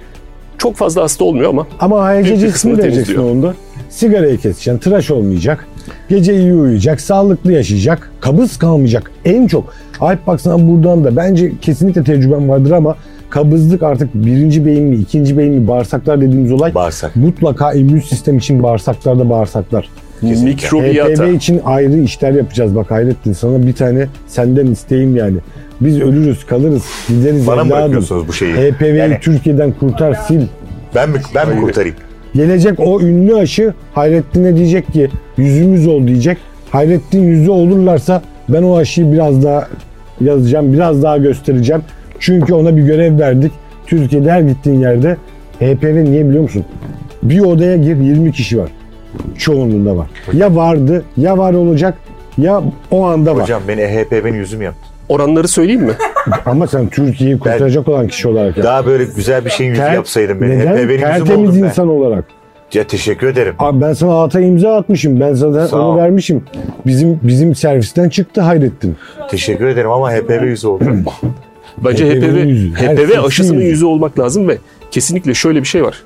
Speaker 2: çok fazla hasta olmuyor ama
Speaker 3: Ama
Speaker 2: Büyük bir
Speaker 3: AECC'sini
Speaker 2: kısmını
Speaker 3: vereceksin
Speaker 2: temizliyor.
Speaker 3: onda. Sigarayı keseceksin, tıraş olmayacak. Gece iyi uyuyacak, sağlıklı yaşayacak, kabız kalmayacak. En çok Alp baksana buradan da bence kesinlikle tecrübem vardır ama kabızlık artık birinci beyin mi, ikinci beyin mi, bağırsaklar dediğimiz olay
Speaker 4: Bağırsak.
Speaker 3: mutlaka immün sistem için bağırsaklarda bağırsaklar.
Speaker 2: mikrobiyata.
Speaker 3: HPV için ayrı işler yapacağız bak Hayrettin sana bir tane senden isteyeyim yani. Biz ölürüz, kalırız, gideriz
Speaker 4: Bana mı
Speaker 3: evladım.
Speaker 4: bırakıyorsunuz bu şeyi?
Speaker 3: HPV'yi
Speaker 4: Yani-
Speaker 3: Türkiye'den kurtar, sil.
Speaker 4: Ben mi, ben mi kurtarayım?
Speaker 3: Gelecek o ünlü aşı Hayrettin'e diyecek ki yüzümüz ol diyecek. Hayrettin yüzü olurlarsa ben o aşıyı biraz daha yazacağım, biraz daha göstereceğim. Çünkü ona bir görev verdik. Türkiye'de her gittiğin yerde HPV niye biliyor musun? Bir odaya gir 20 kişi var. Çoğunluğunda var. Ya vardı, ya var olacak, ya o anda var.
Speaker 4: Hocam beni E HPV'nin yüzüm yaptı.
Speaker 2: Oranları söyleyeyim mi?
Speaker 3: Ama sen Türkiye'yi kurtaracak olan kişi olarak. ya.
Speaker 4: Daha böyle güzel bir şeyin yüzü
Speaker 3: Ter-
Speaker 4: yapsaydım beni. E
Speaker 3: Neden?
Speaker 4: HPV'nin yüzüm
Speaker 3: Tertemiz
Speaker 4: oldum ben.
Speaker 3: insan olarak.
Speaker 4: Ya teşekkür ederim.
Speaker 3: Abi ben sana alta imza atmışım. Ben zaten
Speaker 4: Sağ
Speaker 3: onu
Speaker 4: ol.
Speaker 3: vermişim. Bizim bizim servisten çıktı Hayrettin.
Speaker 4: Teşekkür ederim ama E HPV yüzü oldu.
Speaker 3: [CLEARS THROAT]
Speaker 2: Bence
Speaker 3: HPV
Speaker 2: HPV,
Speaker 3: yüzü. Herkesin
Speaker 2: HPV aşısının
Speaker 3: yüzü.
Speaker 2: yüzü olmak lazım ve kesinlikle şöyle bir şey var.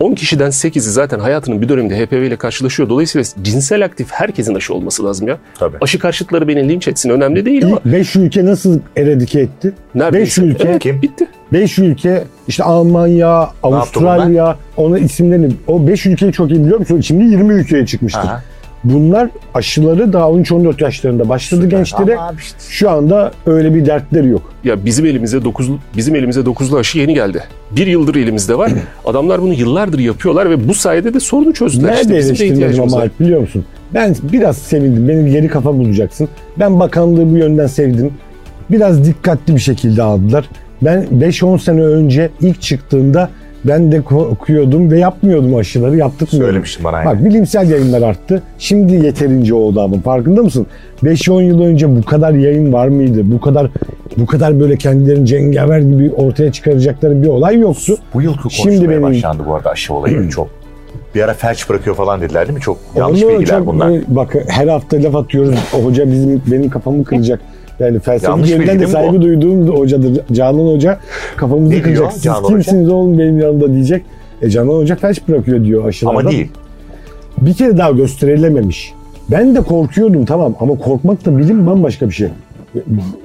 Speaker 2: 10 kişiden 8'i zaten hayatının bir döneminde HPV ile karşılaşıyor. Dolayısıyla cinsel aktif herkesin aşı olması lazım ya.
Speaker 4: Tabii.
Speaker 2: Aşı karşıtları beni linç etsin önemli değil ama
Speaker 3: İlk 5 ülke nasıl eradike etti? 5
Speaker 2: neredeyse.
Speaker 3: ülke,
Speaker 2: Evet,
Speaker 4: Kim?
Speaker 2: Bitti.
Speaker 3: 5 ülke işte Almanya, Avustralya, onun isimlerini o 5 ülkeyi çok iyi biliyorum. Sonra Şimdi 20 ülkeye çıkmıştı.
Speaker 4: Aha.
Speaker 3: Bunlar aşıları daha 13-14 yaşlarında başladı gençlere.
Speaker 4: Ama abi işte.
Speaker 3: Şu anda öyle bir dertleri yok.
Speaker 2: Ya bizim elimize 9 bizim elimize dokuzlu aşı yeni geldi. Bir yıldır elimizde var. Adamlar bunu yıllardır yapıyorlar ve bu sayede de sorunu çözdüler.
Speaker 3: Nerede
Speaker 2: işte bizim de
Speaker 3: eleştirmedim
Speaker 2: ihtiyacımız
Speaker 3: ama
Speaker 2: var.
Speaker 3: Alp biliyor musun? Ben biraz sevindim. Benim yeni kafa bulacaksın. Ben bakanlığı bu yönden sevdim. Biraz dikkatli bir şekilde aldılar. Ben 5-10 sene önce ilk çıktığında ben de korkuyordum ve yapmıyordum aşıları. Yaptırmıyordum.
Speaker 4: Söylemiştin bana aynen.
Speaker 3: Bak bilimsel yayınlar arttı. Şimdi yeterince oldu ama farkında mısın? 5-10 yıl önce bu kadar yayın var mıydı? Bu kadar bu kadar böyle kendilerini cengaver gibi ortaya çıkaracakları bir olay yoktu.
Speaker 4: Bu yılki konuşmaya
Speaker 3: Şimdi benim-
Speaker 4: başlandı bu arada
Speaker 3: [CLEARS THROAT]
Speaker 4: aşı olayı çok. Bir ara felç bırakıyor falan dediler değil mi? Çok yanlış
Speaker 3: Onu
Speaker 4: bilgiler
Speaker 3: çok- e,
Speaker 4: bunlar.
Speaker 3: Bak her hafta laf atıyoruz. O hoca bizim benim kafamı kıracak. Yani
Speaker 4: Yanlış
Speaker 3: felsefi
Speaker 4: bilgi
Speaker 3: yönden de
Speaker 4: değil mi
Speaker 3: saygı
Speaker 4: bu?
Speaker 3: duyduğum da hocadır. Canan Hoca kafamızı
Speaker 4: Ne diyor
Speaker 3: kıracak. Siz
Speaker 4: Canan Hoca?
Speaker 3: kimsiniz oğlum benim yanımda diyecek. E Canan Hoca felç bırakıyor diyor aşılardan.
Speaker 4: Ama değil.
Speaker 3: bir kere daha gösterilememiş. Ben de korkuyordum tamam ama korkmak da bilim bambaşka bir şey.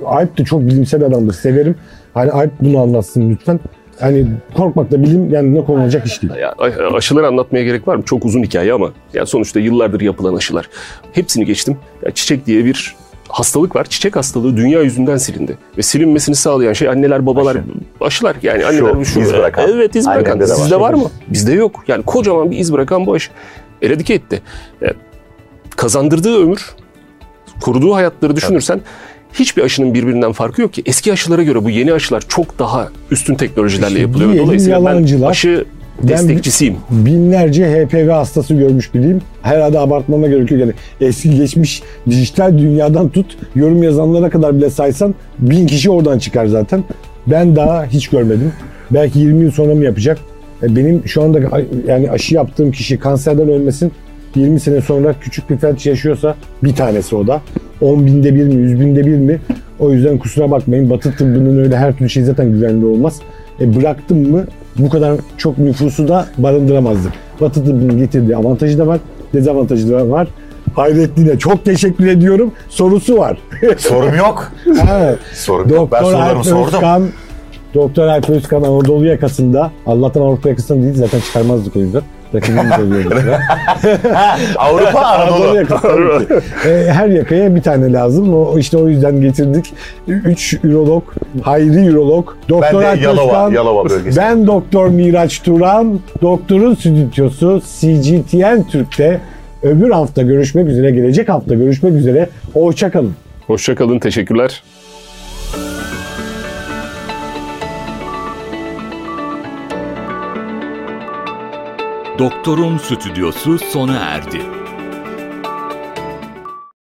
Speaker 3: Alp de çok bilimsel adamdır severim. Hani Alp bunu anlatsın lütfen. Hani korkmak da bilim yani ne konulacak iş değil.
Speaker 2: Ya, a- aşıları anlatmaya gerek var mı? Çok uzun hikaye ama yani sonuçta yıllardır yapılan aşılar. Hepsini geçtim. Ya çiçek diye bir hastalık var. Çiçek hastalığı dünya yüzünden silindi. Ve silinmesini sağlayan şey anneler, babalar,
Speaker 4: Aşı.
Speaker 2: aşılar. Yani anneler
Speaker 4: Şu, iz bırakan.
Speaker 2: Evet iz
Speaker 4: Annemde
Speaker 2: bırakan.
Speaker 4: de var.
Speaker 2: Sizde var mı? Bizde yok. Yani kocaman bir iz bırakan bu aşı. Eradike etti. Ya, kazandırdığı ömür, koruduğu hayatları düşünürsen hiçbir aşının birbirinden farkı yok ki. Eski aşılara göre bu yeni aşılar çok daha üstün teknolojilerle
Speaker 3: İşte
Speaker 2: yapılıyor.
Speaker 3: diyelim
Speaker 2: Dolayısıyla ben
Speaker 3: yalancılar.
Speaker 2: aşı
Speaker 3: Ben-
Speaker 2: destekçisiyim.
Speaker 3: Binlerce HPV hastası görmüş bileyim. Herhalde abartmama gerek yok. Yani eski geçmiş dijital dünyadan tut yorum yazanlara kadar bile saysan bin kişi oradan çıkar zaten. Ben daha hiç görmedim. Belki 20 yıl sonra mı yapacak? E, Benim şu anda yani aşı yaptığım kişi kanserden ölmesin. 20 sene sonra küçük bir felç yaşıyorsa bir tanesi o da. 10 binde bir mi, 100 binde bir mi? O yüzden kusura bakmayın. Batı tıbbının öyle her türlü şey zaten güvenli olmaz. E bıraktım mı bu kadar çok nüfusu da barındıramazdık. Batı tıbbının getirdiği avantajı da var, dezavantajı da var. Hayrettin'e çok teşekkür ediyorum. Sorusu
Speaker 4: [LAUGHS]
Speaker 3: var.
Speaker 4: Sorum yok.
Speaker 3: Ha,
Speaker 4: Sorum yok. Ben
Speaker 3: [LAUGHS] Doktor
Speaker 4: sorularımı
Speaker 3: Alp
Speaker 4: sordum.
Speaker 3: Özkan, Doktor Alp Özkan Anadolu yakasında. Allah'tan Avrupa yakasında değil zaten çıkarmazdık o yüzden. Rakibimiz
Speaker 4: [LAUGHS]
Speaker 3: oluyordu. [LAUGHS]
Speaker 4: Avrupa
Speaker 3: Anadolu
Speaker 4: Anadolu.
Speaker 3: yakası tabii ki. E, her yakaya bir tane lazım. O, işte o yüzden getirdik. Üç ürolog, Hayri ürolog,
Speaker 4: Ben
Speaker 3: Doktor
Speaker 4: de
Speaker 3: Alp
Speaker 4: Yalova,
Speaker 3: Özkan,
Speaker 4: Yalova bölgesi.
Speaker 3: ben Doktor Miraç Turan, Doktor'un stüdyosu CGTN Türk'te. Öbür hafta görüşmek üzere, gelecek hafta görüşmek üzere. Hoşçakalın.
Speaker 2: Hoşçakalın, teşekkürler.
Speaker 1: Doktorun stüdyosu sona erdi.